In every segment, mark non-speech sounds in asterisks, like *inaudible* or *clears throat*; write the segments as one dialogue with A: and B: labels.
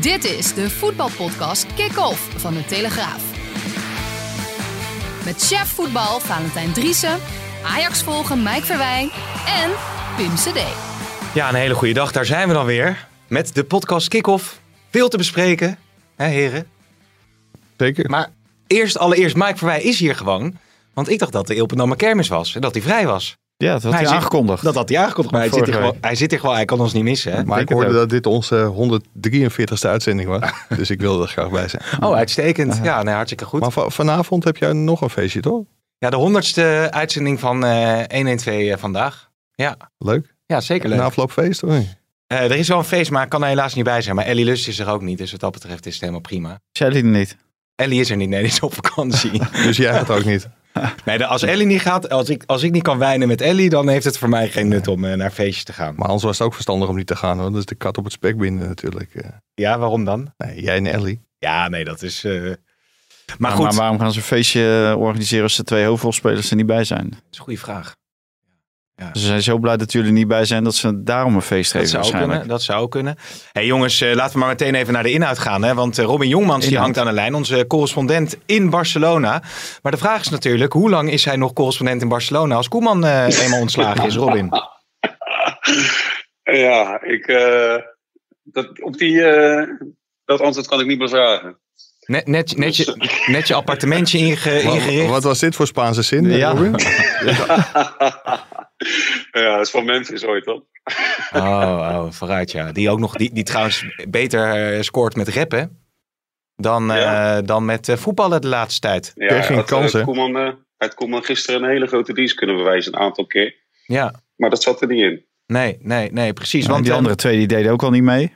A: Dit is de voetbalpodcast Kick-Off van de Telegraaf. Met chef voetbal Valentijn Driessen, Ajax volgen Mike Verwijn en Pim CD.
B: Ja, een hele goede dag. Daar zijn we dan weer. Met de podcast Kick-Off. Veel te bespreken, hè heren.
C: Zeker.
B: Maar eerst allereerst, Mike Verwij is hier gewoon. Want ik dacht dat de Ilpendamme kermis was en dat hij vrij was.
C: ja, dat had
B: Maar
C: hij
B: zit-
C: aangekondigd.
B: Dat had hij aangekondigd, maar hij zit,
C: Vorige
B: hier gewoon,
C: week.
B: hij zit hier gewoon, hij kan ons niet missen. Hè?
C: Ik
D: Maar ik
C: denk
D: hoorde
C: het
D: dat dit onze 143ste uitzending was. dus ik wilde er graag bij zijn.
B: Oh, uitstekend. Ja, nee, hartstikke goed.
D: Maar va- vanavond heb jij nog een feestje, toch?
B: Ja, de honderdste uitzending van eh 112 eh, vandaag. Ja,
D: Leuk.
B: ja zeker leuk.
D: Een afloopfeest, hoor.
B: Eh, er is wel een feest, maar ik kan er helaas niet bij zijn. Maar Ellie Lust is er ook niet, dus wat dat betreft is het helemaal prima.
C: Zei hij niet.
B: Ellie is er niet, nee, die is op vakantie.
D: Dus jij gaat ook niet.
B: Nee, de- als Ellie niet gaat, als ik, als ik niet kan wijnen met Ellie, dan heeft het voor mij geen nut om eh, naar feestjes te gaan.
D: Maar anders was het ook verstandig om niet te gaan, hoor. Dat is de kat op het spek binden, natuurlijk. Eh,
B: Ja, waarom dan?
D: Nee, jij en Ellie.
B: Ja, nee, dat is. eh, Maar
C: Maar,
B: goed,
C: maar waarom gaan ze een feestje eh, organiseren als de twee hoofdrolspelers er niet bij zijn?
B: dat is een goede vraag.
C: Ze zijn zo blij dat jullie er niet bij zijn dat ze daarom een
B: Dat
C: feest geven
B: zou
C: waarschijnlijk.
B: kunnen. Dat zou kunnen. hey, jongens, eh, laten we maar meteen even naar de inhoud gaan. Hè? Want eh, Robin Jongmans die
C: Inhoud.
B: hangt aan de lijn, onze correspondent in Barcelona. Maar de vraag is natuurlijk, hoe lang is hij nog correspondent in Barcelona als Koeman eh, eenmaal ontslagen is, Robin?
C: *laughs*
E: Ja, ik, eh, dat, op die, eh, dat antwoord kan ik niet bevragen.
B: Net, net, net, je, net je appartementje inge-
D: Wa-
B: ingericht.
D: Wat was dit voor Spaanse zin, eh,
C: Ja. *laughs*
D: Robin?
E: *laughs* ja, dat is van Memphis ooit dan.
B: Oh, oh, vooruit ja. Die ook nog, die, die trouwens beter eh, scoort met rappen dan, eh,
E: Ja.
B: dan met eh, voetballen de laatste tijd.
E: Ja,
D: Kreeg geen
E: had, eh,
D: kans, hè?
E: Koeman, eh, had Koeman gisteren een hele grote dienst kunnen bewijzen, een aantal keer.
B: Ja,
E: Maar dat zat er niet in.
B: nee, nee, nee, precies.
C: Want
B: want
C: die
B: eh,
C: andere twee die deden ook al niet mee.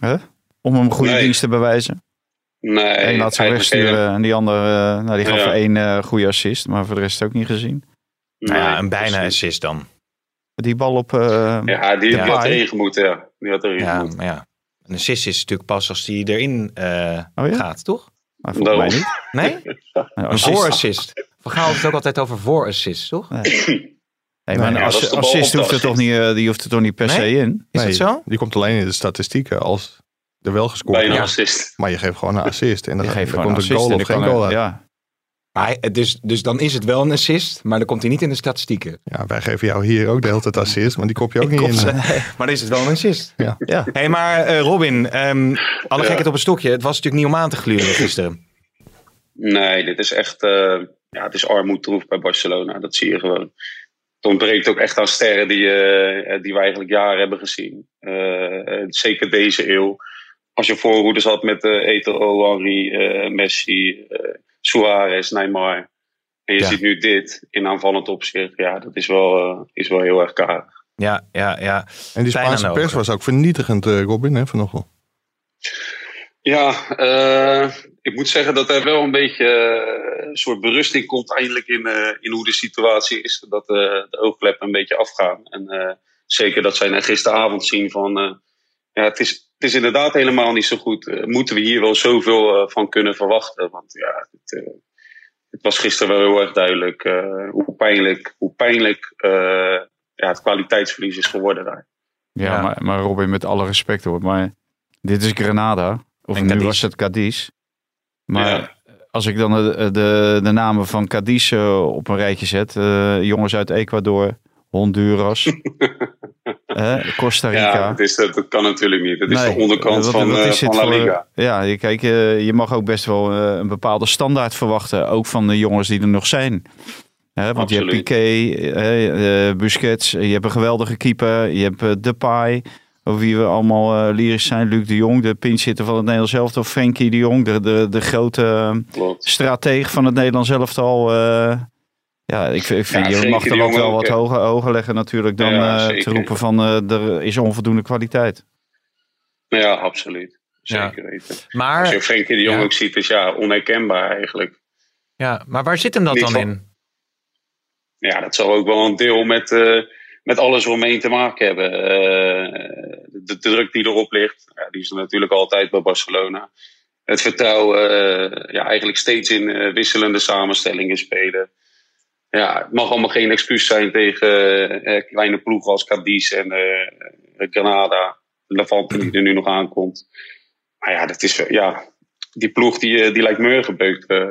C: Huh? Om hem goede
E: Nee.
C: dienst te bewijzen.
E: Nee,
C: Eén laat ze
E: eigenlijk, eh,
C: wegsturen en die andere, eh, nou die gaf
E: Ja.
C: er één eh, goede assist, maar voor de rest ook niet gezien.
E: nee,
B: ja, een bijna
E: precies.
B: assist dan.
C: Die bal op, eh,
E: Ja, die, die
B: Ja.
E: had erin gemoeten, ja. Die had erin
B: Ja,
E: gemoeten.
B: maar ja. Een assist is natuurlijk pas als die erin eh,
C: oh ja,
B: gaat, toch?
C: nou, volgens mij
E: Daarom.
C: niet.
B: Nee?
E: *laughs*
C: Nou,
B: Een
C: assist.
B: voorassist. We gaan het ook altijd over voorassist, toch?
C: Nee, maar
B: Nee,
C: een
E: ja, dat is
C: ass-
E: de bal op
C: assist
E: de
C: hoeft er,
E: assist.
C: toch niet, eh, die hoeft er toch niet per
B: Nee?
C: se in?
B: Is
D: Nee,
B: dat zo?
D: Die komt alleen in de statistieken als er wel gescoord
E: Bijna
D: wordt.
E: assist.
D: Maar je geeft gewoon een assist. En dan,
C: Die geeft
D: dan
C: gewoon
D: komt
C: een
D: een goal
C: assist en
D: of
C: die
D: geen
C: kan
D: goal
C: er-
D: uit. Ja.
C: Ja,
B: Maar hij- dus, dus dan is het wel een assist, maar dan komt hij niet in de statistieken.
D: wij geven jou hier ook de hele tijd assist, maar die kop je ook niet
B: Komt ze-
D: in. eh.
B: *laughs* maar dan is het wel een assist.
D: Ja.
C: Ja.
B: Hé, hey, maar eh, Robin, ehm alle
E: Ja.
B: gekheid op een stokje. Het was natuurlijk niet om aan te gluren gisteren.
E: Nee, dit is echt. eh, ja, het is armoedtroef bij Barcelona. Dat zie je gewoon. Het ontbreekt ook echt aan sterren die, eh, eh, die we eigenlijk jaren hebben gezien. Eh, eh, zeker deze eeuw. Als je voorhoeders had met eh Eto'o, Henry, eh, Messi, eh Suarez, Neymar. En je
B: Ja.
E: ziet nu dit in aanvallend opzicht. Ja, dat is wel, eh, is wel heel erg karig.
B: Ja, ja, ja.
D: En die
B: Pijn aan
D: Spaanse
B: de
D: pers
B: ogen.
D: was ook vernietigend, eh, Robin, hè, vanochtend.
E: Ja, eh, ik moet zeggen dat er wel een beetje eh, een soort berusting komt eindelijk in, eh, in hoe de situatie is. Dat eh, de oogkleppen een beetje afgaan. En eh, zeker dat zij net gisteravond zien van... eh, ja, het is, het is inderdaad helemaal niet zo goed. Eh, moeten we hier wel zoveel eh, van kunnen verwachten? Want ja, het, eh, het was gisteren wel heel erg duidelijk eh, hoe pijnlijk, hoe pijnlijk eh, ja, het kwaliteitsverlies is geworden daar.
C: ja,
B: Ja.
C: Maar, maar Robin, met alle respect hoor, maar dit is Granada. Of
B: En
C: nu
B: Cadiz.
C: was het Cadiz. Maar
E: Ja.
C: als ik dan de, de, de namen van Cadiz eh, op een rijtje zet. eh, jongens uit Ecuador, Honduras, eh, Costa Rica.
E: Ja, het is, dat kan natuurlijk niet. Het is
C: Nee,
E: de onderkant
C: wat-
E: van,
C: wat
E: eh,
C: is dit
E: van La
C: voor-
E: Liga.
C: Ja, je, kijk, eh, je mag ook best wel eh, een bepaalde standaard verwachten. Ook van de jongens die er nog zijn. Hè, want je hebt
E: Absoluut.
C: Piqué, eh, eh, Busquets, je hebt een geweldige keeper. Je hebt eh, Depay, over wie we allemaal eh, lyrisch zijn. Luc de Jong, de pinchhitter van het Nederlands elftal. Frenkie de Jong, de, de, de grote eh,
B: Dus-
E: Klopt.
C: strateeg van het Nederlands elftal. eh Ja, ik, vind- ik vind,
E: Ja,
C: je
E: Frenkie
C: mag
E: de
C: er ook
E: Jong
C: wel
E: ook,
C: wat
E: hè.
C: hoger ogen leggen natuurlijk dan
E: Ja,
C: eh, te
E: zeker.
C: roepen van eh, er is onvoldoende kwaliteit.
E: Nou ja, absoluut.
B: Ja.
E: Zeker weten. Als je
B: Maar,
E: Frenkie de Jong
B: Ja.
E: ook ziet, is ja, onherkenbaar eigenlijk.
B: ja, maar waar zit hem dat
E: Niks
B: dan
E: van.
B: in?
E: Ja, dat zal ook wel een deel met, eh, met alles omheen te maken hebben. Eh, de, de druk die erop ligt, ja, die is er natuurlijk altijd bij Barcelona. Het vertrouwen, eh, ja, eigenlijk steeds in eh, wisselende samenstellingen spelen. Ja, het mag allemaal geen excuus zijn tegen eh, kleine ploegen als Cadiz en eh Granada. Levante die er nu nog aankomt. Maar ja, dat is, wel- ja die ploeg die, eh, die lijkt meur gebeukt. eh,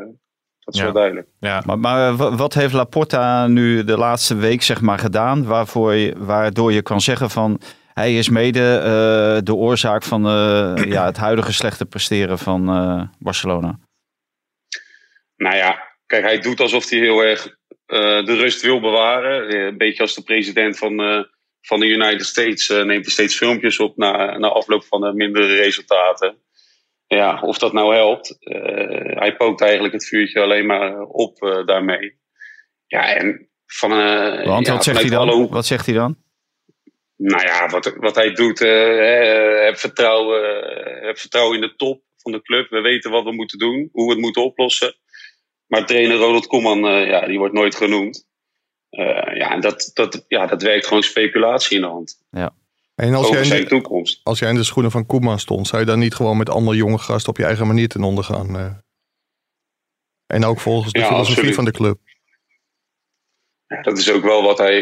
E: dat is
B: Ja.
E: wel duidelijk.
B: Ja.
C: Maar, maar wa- wat heeft Laporta nu de laatste week zeg maar, gedaan waarvoor je, waardoor je kan zeggen van hij is mede eh, de oorzaak van eh, ja, het huidige slechte presteren van eh, Barcelona?
E: Nou ja, kijk, hij doet alsof hij heel erg eh, de rust wil bewaren. Eh, Een beetje als de president van, eh, van de United States eh, neemt hij steeds filmpjes op na, na afloop van eh, mindere resultaten. Ja, of dat nou helpt. eh, hij pookt eigenlijk het vuurtje alleen maar op eh, daarmee. Ja, en van. eh
C: Want
E: ja,
C: wat, zegt hij
E: vanuit
C: dan?
E: alle hoeken-
C: wat zegt hij dan?
E: nou ja, wat, wat hij doet, eh, hè, heb, vertrouwen, eh, heb vertrouwen in de top van de club. We weten wat we moeten doen, hoe we het moeten oplossen. Maar trainer Ronald Koeman, eh, ja, die wordt nooit genoemd. Eh, ja, en dat, dat, ja, dat werkt gewoon speculatie in de hand.
D: En als
E: Over
D: jij, in
E: zijn
D: de,
E: toekomst.
D: als jij in de schoenen van Koeman stond, zou je dan niet gewoon met andere jonge gasten op je eigen manier ten onder gaan? eh? En ook volgens de
E: Ja,
D: filosofie
E: absoluut.
D: van de club.
E: Ja, dat is ook wel wat hij...
C: Maar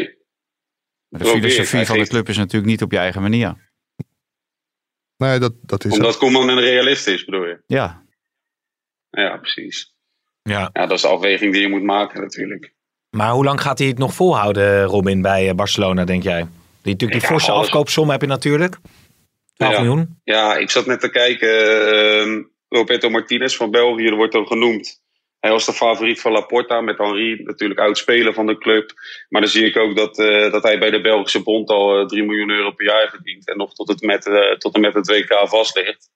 C: De
E: Probeer,
C: filosofie
E: hij
C: van de
E: geeft-
C: club is natuurlijk niet op je eigen manier.
D: Nee, dat, dat is het.
E: Omdat Koeman een realist is, bedoel je?
C: Ja,
E: Ja, precies.
B: Ja.
E: Ja, dat is de afweging die je moet maken natuurlijk.
B: Maar hoe lang gaat hij het nog volhouden, Robin, bij eh, Barcelona, denk jij? Die, natuurlijk die
E: Ja,
B: forse
E: alles.
B: afkoopsom heb je natuurlijk. 12
E: Ja.
B: miljoen.
E: Ja, ik zat net te kijken. ehm, Roberto Martinez van België, er wordt al genoemd. Hij was de favoriet van Laporta met Henri, natuurlijk oudspeler van de club. Maar dan zie ik ook dat, eh, dat hij bij de Belgische Bond al eh, 3 miljoen euro per jaar verdient. En nog tot, het met, eh, tot en met het WK vast ligt.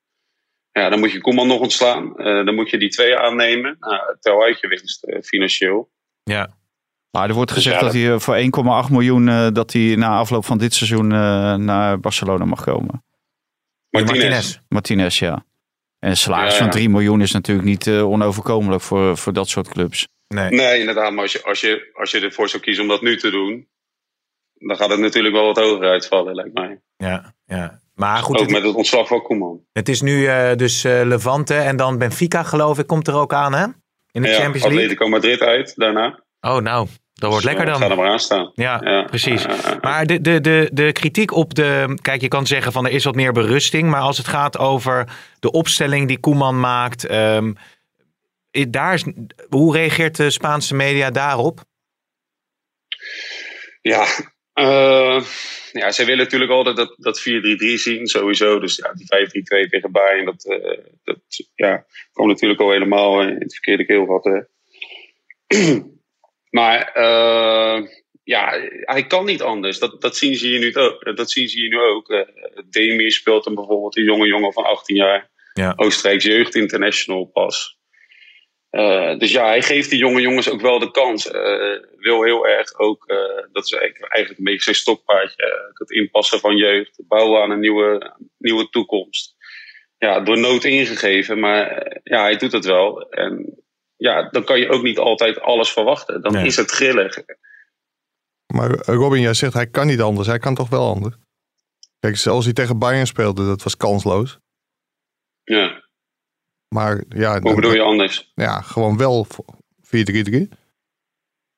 E: Ja, dan moet je Koeman nog ontslaan. Eh, dan moet je die twee aannemen. Nou, tel uit je winst eh, financieel.
B: Ja.
C: maar er wordt
E: Dus
C: gezegd
E: ja,
C: dat hij eh, voor 1,8 miljoen eh, dat hij na afloop van dit seizoen eh, naar Barcelona mag komen.
E: Martinez.
C: Martinez, ja. En een salaris
E: Ja,
C: van
E: ja.
C: 3 miljoen is natuurlijk niet eh, onoverkomelijk voor, voor dat soort clubs.
B: Nee.
E: Nee, inderdaad. Maar als je, als, je, als je ervoor zou kiezen om dat nu te doen... dan gaat het natuurlijk wel wat hoger uitvallen, lijkt mij.
B: Ja, ja. Maar goed,
E: Ook
B: het,
E: met het ontslag van Koeman.
B: het is nu eh, dus eh, Levante en dan Benfica, geloof ik, komt er ook aan, hè? In de
E: ja,
B: Champions League.
E: Atletico Madrid uit daarna.
B: Oh, nou, dat wordt lekker
E: Ga er
B: dan.
E: maar aan staan.
B: Ja,
E: Ja.
B: precies.
E: Ja, ja, ja.
B: Maar de, de, de, de kritiek op de. Kijk, je kan zeggen van er is wat meer berusting. Maar als het gaat over de opstelling die Koeman maakt. ehm, i- daar is, hoe reageert de Spaanse media daarop?
E: Ja, eh, ja, zij willen natuurlijk altijd dat, dat 4-3-3 zien, sowieso. Dus ja, die 5-3-2 tegen Bayern, dat, eh, dat ja, kwam natuurlijk al helemaal eh, in het verkeerde keelgat. eh. *clears throat* maar eh, ja, hij kan niet anders. Dat, dat, zien, ze hier nu ook, dat zien ze hier nu ook. Eh, Demir speelt hem bijvoorbeeld, een jonge jongen van 18 jaar.
B: Ja.
E: Oostenrijks Jeugd International pas. Eh, dus ja, hij geeft die jonge jongens ook wel de kans. Eh, wil heel erg ook, eh, dat is eigenlijk eigenlijk een beetje zijn stokpaardje, eh, het inpassen van jeugd, bouwen aan een nieuwe, nieuwe toekomst. Ja, door nood ingegeven, maar eh, ja, hij doet het wel. En ja, dan kan je ook niet altijd alles verwachten. Dan
B: Nee.
E: is het grillig.
D: Maar eh, Robin, jij zegt hij kan niet anders. Hij kan toch wel anders? Kijk, zoals hij tegen Bayern speelde, dat was kansloos.
E: Ja,
D: Maar ja,
E: hoe bedoel je anders?
D: ja gewoon wel voor 4-3-3.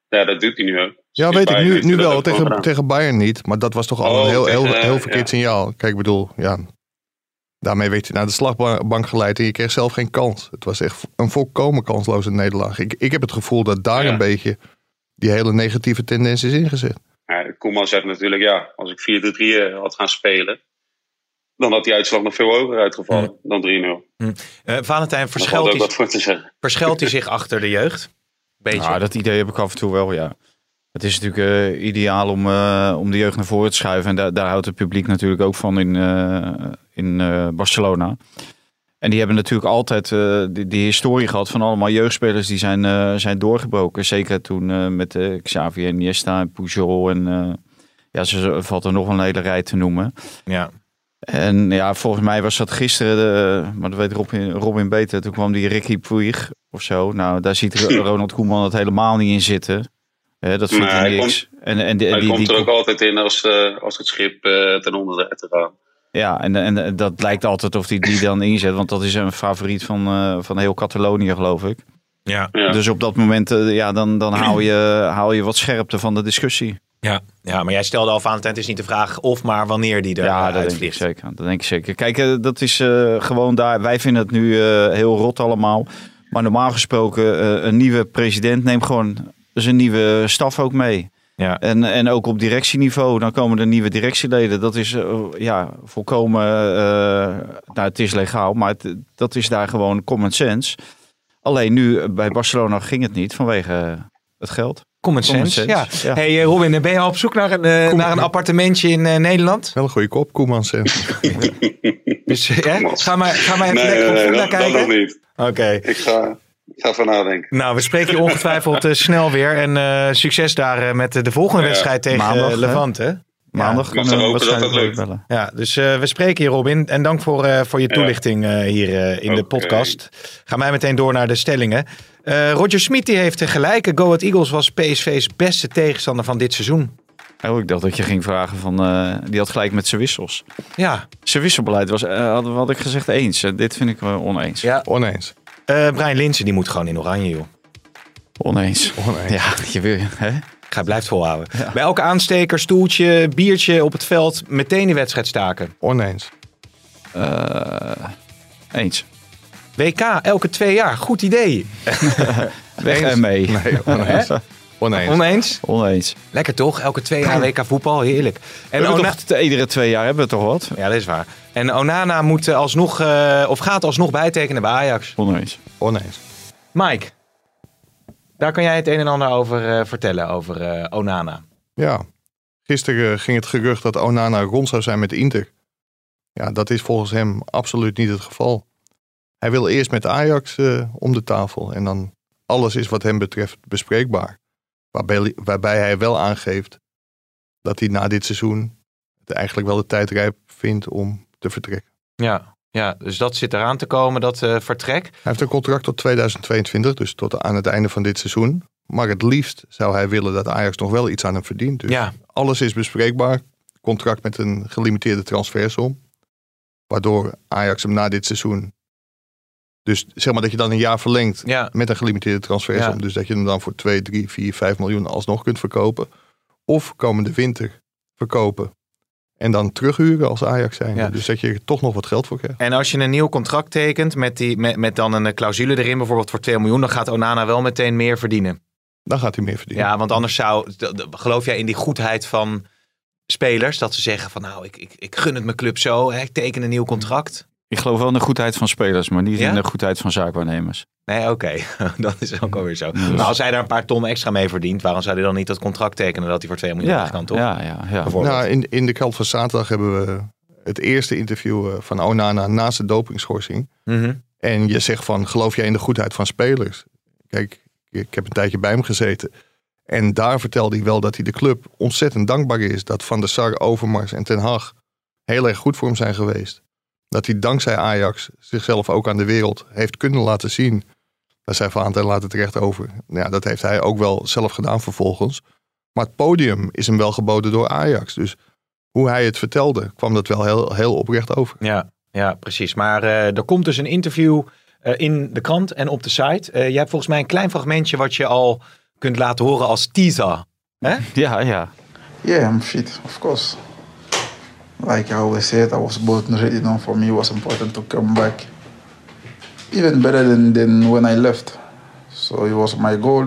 E: Ja, dat doet hij nu ook.
D: Ja,
E: Die
D: weet ik
E: Bayern
D: nu,
E: heeft
D: nu
E: dat
D: wel.
E: ook gewoon
D: Tegen,
E: gedaan.
D: tegen Bayern niet. Maar dat was toch al
E: Oh,
D: een heel,
E: tegen,
D: heel, heel
E: eh,
D: verkeerd
E: ja.
D: signaal. Kijk, ik bedoel, ja. Daarmee werd je naar de slagbank geleid en je kreeg zelf geen kans. Het was echt een volkomen kansloze nederlaag. Ik, ik heb het gevoel dat daar
E: Ja.
D: een beetje die hele negatieve tendens is ingezet.
E: Ja, Koeman zegt natuurlijk, ja, als ik 4-3 eh, had gaan spelen, dan had die uitslag nog veel hoger uitgevallen dan 3-0.
B: Eh, Valentijn,
E: Daar valt
B: verschilt
E: ook
B: hij,
E: wat voor te zeggen.
B: verschilt hij zich achter de jeugd? Beetje.
C: Ja, Nou, dat idee heb ik af en toe wel, ja. Het is natuurlijk eh, ideaal om, eh, om de jeugd naar voren te schuiven. En daar daar houdt het publiek natuurlijk ook van in, eh, in eh, Barcelona. En die hebben natuurlijk altijd eh, die, die historie gehad van allemaal jeugdspelers die zijn, eh, zijn doorgebroken. Zeker toen eh, met eh, Xavier Iniesta en Pujol en eh, ja, ze valt er nog een hele rij te noemen.
B: Ja.
C: En ja, volgens mij was dat gisteren, de, maar dat weet Robin, Robin beter, toen kwam die Ricky Puig of zo. Nou, daar ziet
E: *laughs*
C: Ro- Ronald Koeman het helemaal niet in zitten. Hè, dat vindt
E: Nee,
C: hij
E: hij
C: niks. en, en, die-
E: Hij
C: die-
E: komt
C: die-
E: er ook altijd in als, eh, als het schip eh, ten onder dreigt te gaan.
C: Ja, en, en dat lijkt altijd of hij die dan inzet. Want dat is een favoriet van, eh, van heel Catalonië, geloof ik.
B: Ja.
E: Ja.
C: Dus op dat moment, eh, ja, dan, dan haal, je, haal je wat scherpte van de discussie.
B: Ja. ja, maar jij stelde al, Valentijn, het is niet de vraag of, maar wanneer die
C: Ja,
B: er eh, ja,
C: dat, denk ik
B: vliegt.
C: zeker, dat denk ik zeker. Kijk, eh, dat is eh, gewoon daar. Wij vinden het nu eh, heel rot allemaal. Maar normaal gesproken, eh, een nieuwe president neemt gewoon zijn nieuwe staf ook mee.
B: Ja.
C: En, en ook op directieniveau, dan komen er nieuwe directieleden. Dat is eh, ja, volkomen, eh, nou het is legaal, maar het- dat is daar gewoon common sense. Alleen nu eh, bij Barcelona ging het niet vanwege eh, het geld.
B: Common
C: Common
B: sense.
C: sense,
B: Ja.
C: ja.
B: Hey eh, Robin, ben je al op zoek naar een, eh,
D: Kom-
B: naar een appartementje in eh, Nederland?
D: Wel een goede kop, Koeman. Sam.
E: *laughs*
B: Dus eh,
E: Kom op.
B: ga maar, ga maar even
E: Nee,
B: lekker op
E: nee, nee,
B: Funda
E: dat, dat
B: kijken.
E: nog niet.
B: Oké.
E: Ik ga, ik ga ervan nadenken.
B: Nou, we spreken je ongetwijfeld eh, snel weer. En eh, succes daar eh, met eh, de volgende
E: Ja.
B: wedstrijd tegen
C: Maandag,
B: Maandag,
C: hè?
B: Levante.
C: Maandag
E: mag
C: kunnen we
E: toch hopen dat
C: waarschijnlijk
E: dat
C: ook
E: lukt.
C: bellen.
B: Ja, dus eh, we spreken hier Robin. En dank voor, eh, voor je
E: Ja.
B: toelichting eh, hier eh, in de
E: Oké.
B: podcast. Gaan wij meteen door naar de stellingen. Eh, Roger Smit die heeft eh, gelijk. Go Ahead Eagles was PSV's beste tegenstander van dit seizoen.
C: Oh, ik dacht dat je ging vragen van, eh, die had gelijk met zijn wissels.
B: Ja,
C: Zijn wisselbeleid was, eh, had, had ik gezegd eens. En dit vind ik wel oneens.
B: Ja.
D: Oneens.
B: Eh, Brian Linsen die moet gewoon in oranje, joh.
C: Oneens.
D: Oneens.
C: Ja, je wil, hè?
B: Hij blijft volhouden. Bij elke aansteker, stoeltje, biertje op het veld, meteen de wedstrijd staken.
D: Oneens.
C: Eh, Eens.
B: WK elke twee jaar, goed idee.
C: Weg
D: Eens.
C: en mee.
D: Nee, oneens. Oneens.
B: Oneens?
C: Oneens.
B: Lekker toch? Elke twee jaar WK voetbal, heerlijk.
C: En
B: En Ona-
C: toch, te- iedere twee jaar hebben we toch wat?
B: ja, dat is waar. En Onana moet eh, alsnog, eh, of gaat alsnog bijtekenen bij Ajax.
C: Oneens.
D: Oneens.
B: Mike, daar kan jij het een en ander over eh, vertellen, over eh, Onana.
D: Ja. Gisteren ging het gerucht dat Onana rond zou zijn met Inter. Ja, dat is volgens hem absoluut niet het geval. Hij wil eerst met Ajax eh, om de tafel en dan alles is wat hem betreft bespreekbaar. Waarbij, waarbij hij wel aangeeft dat hij na dit seizoen het eigenlijk wel de tijd rijp vindt om te vertrekken.
B: Ja, ja, dus dat zit eraan te komen, dat eh, vertrek.
D: Hij heeft een contract tot 2022, dus tot aan het einde van dit seizoen. Maar het liefst zou hij willen dat Ajax nog wel iets aan hem verdient. Dus
B: Ja,
D: alles is bespreekbaar. Contract met een gelimiteerde transfersom. Waardoor Ajax hem na dit seizoen. Dus zeg maar dat je dan een jaar verlengt
B: ja.
D: met een gelimiteerde transfersom.
B: Ja.
D: Dus dat je hem dan voor 2, 3, 4, 5 miljoen alsnog kunt verkopen. Of komende winter verkopen. En dan terughuren als Ajax zijn.
B: Ja.
D: Dus dat je er toch nog wat geld voor krijgt.
B: En als je een nieuw contract tekent met, die, met, met dan een eh, clausule erin, bijvoorbeeld voor 2 miljoen, dan gaat Onana wel meteen meer verdienen.
D: Dan gaat hij meer verdienen.
B: Ja, want anders zou. d- d- Geloof jij in die goedheid van spelers dat ze zeggen van nou, ik, ik, ik gun het mijn club zo, hè, ik teken een nieuw contract?
C: Ik geloof wel in de goedheid van spelers, maar niet
B: Ja?
C: in de goedheid van zaakwaarnemers.
B: Nee, oké. *laughs* dat is ook alweer zo.
C: Dus-
B: Maar als hij daar een paar ton extra mee verdient, waarom zou hij dan niet dat contract tekenen dat hij voor 2 miljoen
C: Ja,
B: kan, toch?
C: ja, ja. ja.
B: Bijvoorbeeld.
D: Nou, in, in de krant van zaterdag hebben we het eerste interview eh, van Onana naast de dopingschorsing.
B: Mhm.
D: En je zegt van, geloof jij in de goedheid van spelers? Kijk, ik heb een tijdje bij hem gezeten. En daar vertelde hij wel dat hij de club ontzettend dankbaar is. Dat Van der Sar, Overmars en Ten Hag heel erg goed voor hem zijn geweest. Dat hij dankzij Ajax zichzelf ook aan de wereld heeft kunnen laten zien. Daar zei Van en laat het recht over. Nou Ja, dat heeft hij ook wel zelf gedaan vervolgens. Maar het podium is hem wel geboden door Ajax. Dus hoe hij het vertelde, kwam dat wel heel, heel oprecht over.
B: Ja, ja, precies. Maar eh, er komt dus een interview eh, in de krant en op de site. Eh, je hebt volgens mij een klein fragmentje wat je al kunt laten horen als teaser.
C: ja, ja.
F: Yeah, I'm fit, of course. Like I always said, I was both ready now for me it was important to come back. Even better than, than when I left. So it was my goal.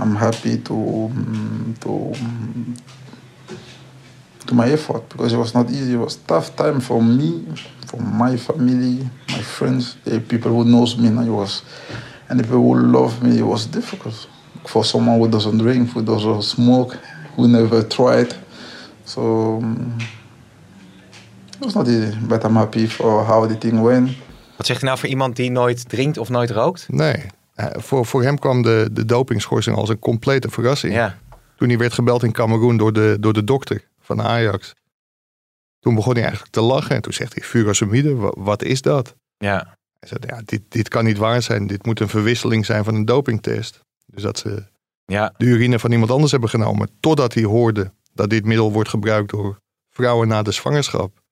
F: I'm happy to mm, to mm, to my effort because it was not easy. It was tough time for me, for my family, my friends, the people who knows me now it was and the people who love me, it was difficult. For someone who doesn't drink, who doesn't smoke, who never tried. um, So mm, it was not easy, but I'm happy for how the thing went.
B: Wat zegt hij nou voor iemand die nooit drinkt of nooit rookt?
D: Nee, Eh, voor, voor hem kwam de, de dopingschorsing als een complete verrassing.
B: Ja.
D: Toen hij werd gebeld in Cameroen door de, door de dokter van Ajax. Toen begon hij eigenlijk te lachen en toen zegt hij, furosemide, wa- wat is dat?
B: ja.
D: Hij zei, ja, dit, dit kan niet waar zijn. Dit moet een verwisseling zijn van een dopingtest. Dus dat ze
B: Ja.
D: de urine van iemand anders hebben genomen. Totdat hij hoorde dat dit middel wordt gebruikt door vrouwen na de zwangerschap.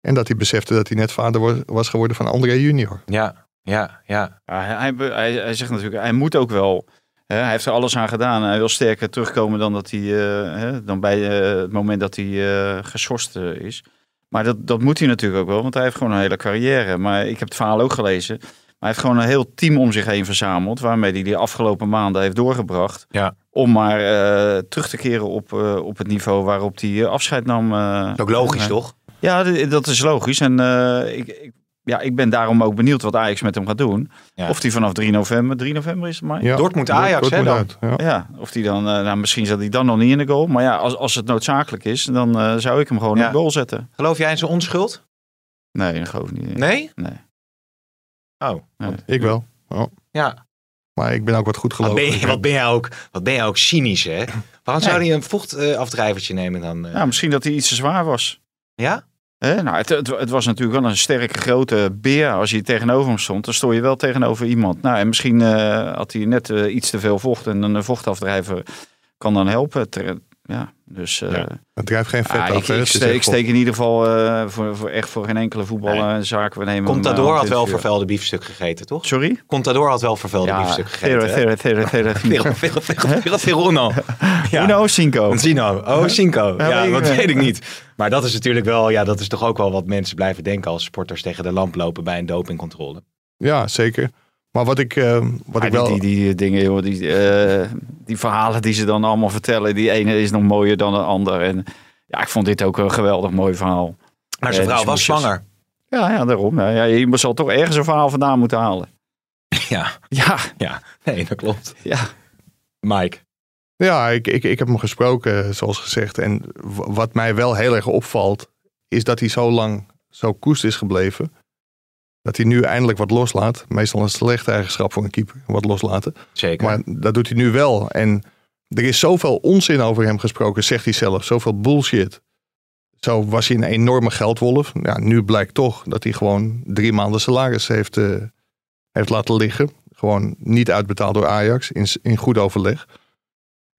D: En dat hij besefte dat hij net vader was, was geworden van André junior.
B: Ja, ja, ja.
C: Ja, hij, hij, be- hij, hij zegt natuurlijk, hij moet ook wel. Hè, hij heeft er alles aan gedaan. Hij wil sterker terugkomen dan, dat hij, eh, hè, dan bij eh, het moment dat hij eh, geschorst eh, is. Maar dat, dat moet hij natuurlijk ook wel, want hij heeft gewoon een hele carrière. Maar ik heb het verhaal ook gelezen. Maar hij heeft gewoon een heel team om zich heen verzameld. Waarmee hij die afgelopen maanden heeft doorgebracht.
B: Ja.
C: Om maar eh, terug te keren op, eh, op het niveau waarop hij eh, afscheid nam. eh,
B: Ook logisch,
C: eh,
B: toch?
C: ja, d- dat is logisch. En eh, ik, ik, ja, ik ben daarom ook benieuwd wat Ajax met hem gaat doen.
B: Ja.
C: Of die vanaf 3 november, 3 november is het maar.
D: Ja,
B: Dortmund Ajax,
D: Dortmund
B: hè, dan?
D: uit, ja.
C: Ja, of die dan, eh, nou, misschien zat hij dan nog niet in de goal. Maar ja, als, als het noodzakelijk is, dan eh, zou ik hem gewoon
B: Ja.
C: in de goal zetten.
B: Geloof jij in zijn onschuld?
C: Nee, dat geloof ik niet.
B: Nee?
C: Nee.
B: Oh.
D: Ik wel, Oh.
B: Ja.
D: maar ik ben ook wat goed
B: Wat
C: Ah,
B: ben,
D: geloven.
B: je, wat, ben jij ook, wat ben jij ook cynisch, hè? Waarom zou
C: Nee.
B: hij een vochtafdrijvertje nemen dan? eh?
C: Ja, misschien dat hij iets te zwaar was.
B: Ja?
C: Hè? Nou, het, het, het was natuurlijk wel een sterke grote beer. Als je tegenover hem stond, dan stond je wel tegenover iemand. Nou, en misschien eh, had hij net eh, iets te veel vocht. En een vochtafdrijver kan dan helpen. Ter- ja, dus... eh,
D: Ja. Het drijft geen vet
C: Ja,
D: af.
C: Ah, ik,
D: hè.
C: ik,
D: Het is
C: steek, ik
D: echt
C: steek in ieder geval eh, voor, voor, echt voor geen enkele voetballer
B: Nee.
C: een zaak. We nemen hem, eh,
B: Contador had
C: hand in
B: wel
C: het vuur.
B: vervuilde biefstuk gegeten, toch?
C: Sorry?
B: Contador had wel vervuilde biefstuk gegeten. hè?
C: Thera- Thera- Thera- Thera-
B: Veel,
D: *laughs*
B: veel, veel, veel, veel Uno. Ja.
C: Uno Cinco.
B: Een Sino. Oh, Cinco.
C: Ja,
B: Ja,
C: weet ik
B: dat
C: wel.
B: weet ik niet. Maar dat is natuurlijk wel, ja, dat is toch ook wel wat mensen blijven denken als sporters tegen de lamp lopen bij een dopingcontrole.
D: wel- Ja, zeker. Maar wat ik, eh, wat
C: Maar
D: ik wel...
C: Ah, die, die, die dingen, joh, die, eh, die verhalen die ze dan allemaal vertellen. Die ene is nog mooier dan de ander. En ja, ik vond dit ook een geweldig mooi verhaal.
B: Maar zijn
C: Ja,
B: vrouw
C: die
B: was
C: smoesjes.
B: zwanger.
C: Ja, ja daarom. Nou Ja, je zal toch ergens een verhaal vandaan moeten halen.
B: Ja,
C: Ja,
B: ja. Nee, dat klopt.
C: ja.
B: Mike.
D: Ja, ik, ik, ik heb hem gesproken, eh, zoals gezegd. En w- wat mij wel heel erg opvalt, is dat hij zo lang zo koest is gebleven. Dat hij nu eindelijk wat loslaat. Meestal een slechte eigenschap voor een keeper, wat loslaten.
B: Zeker.
D: Maar dat doet hij nu wel. En er is zoveel onzin over hem gesproken, zegt hij zelf. Zoveel bullshit. Zo was hij een enorme geldwolf. Ja, nu blijkt toch dat hij gewoon drie maanden salaris heeft, eh, heeft laten liggen. Gewoon niet uitbetaald door Ajax in, s- in goed overleg.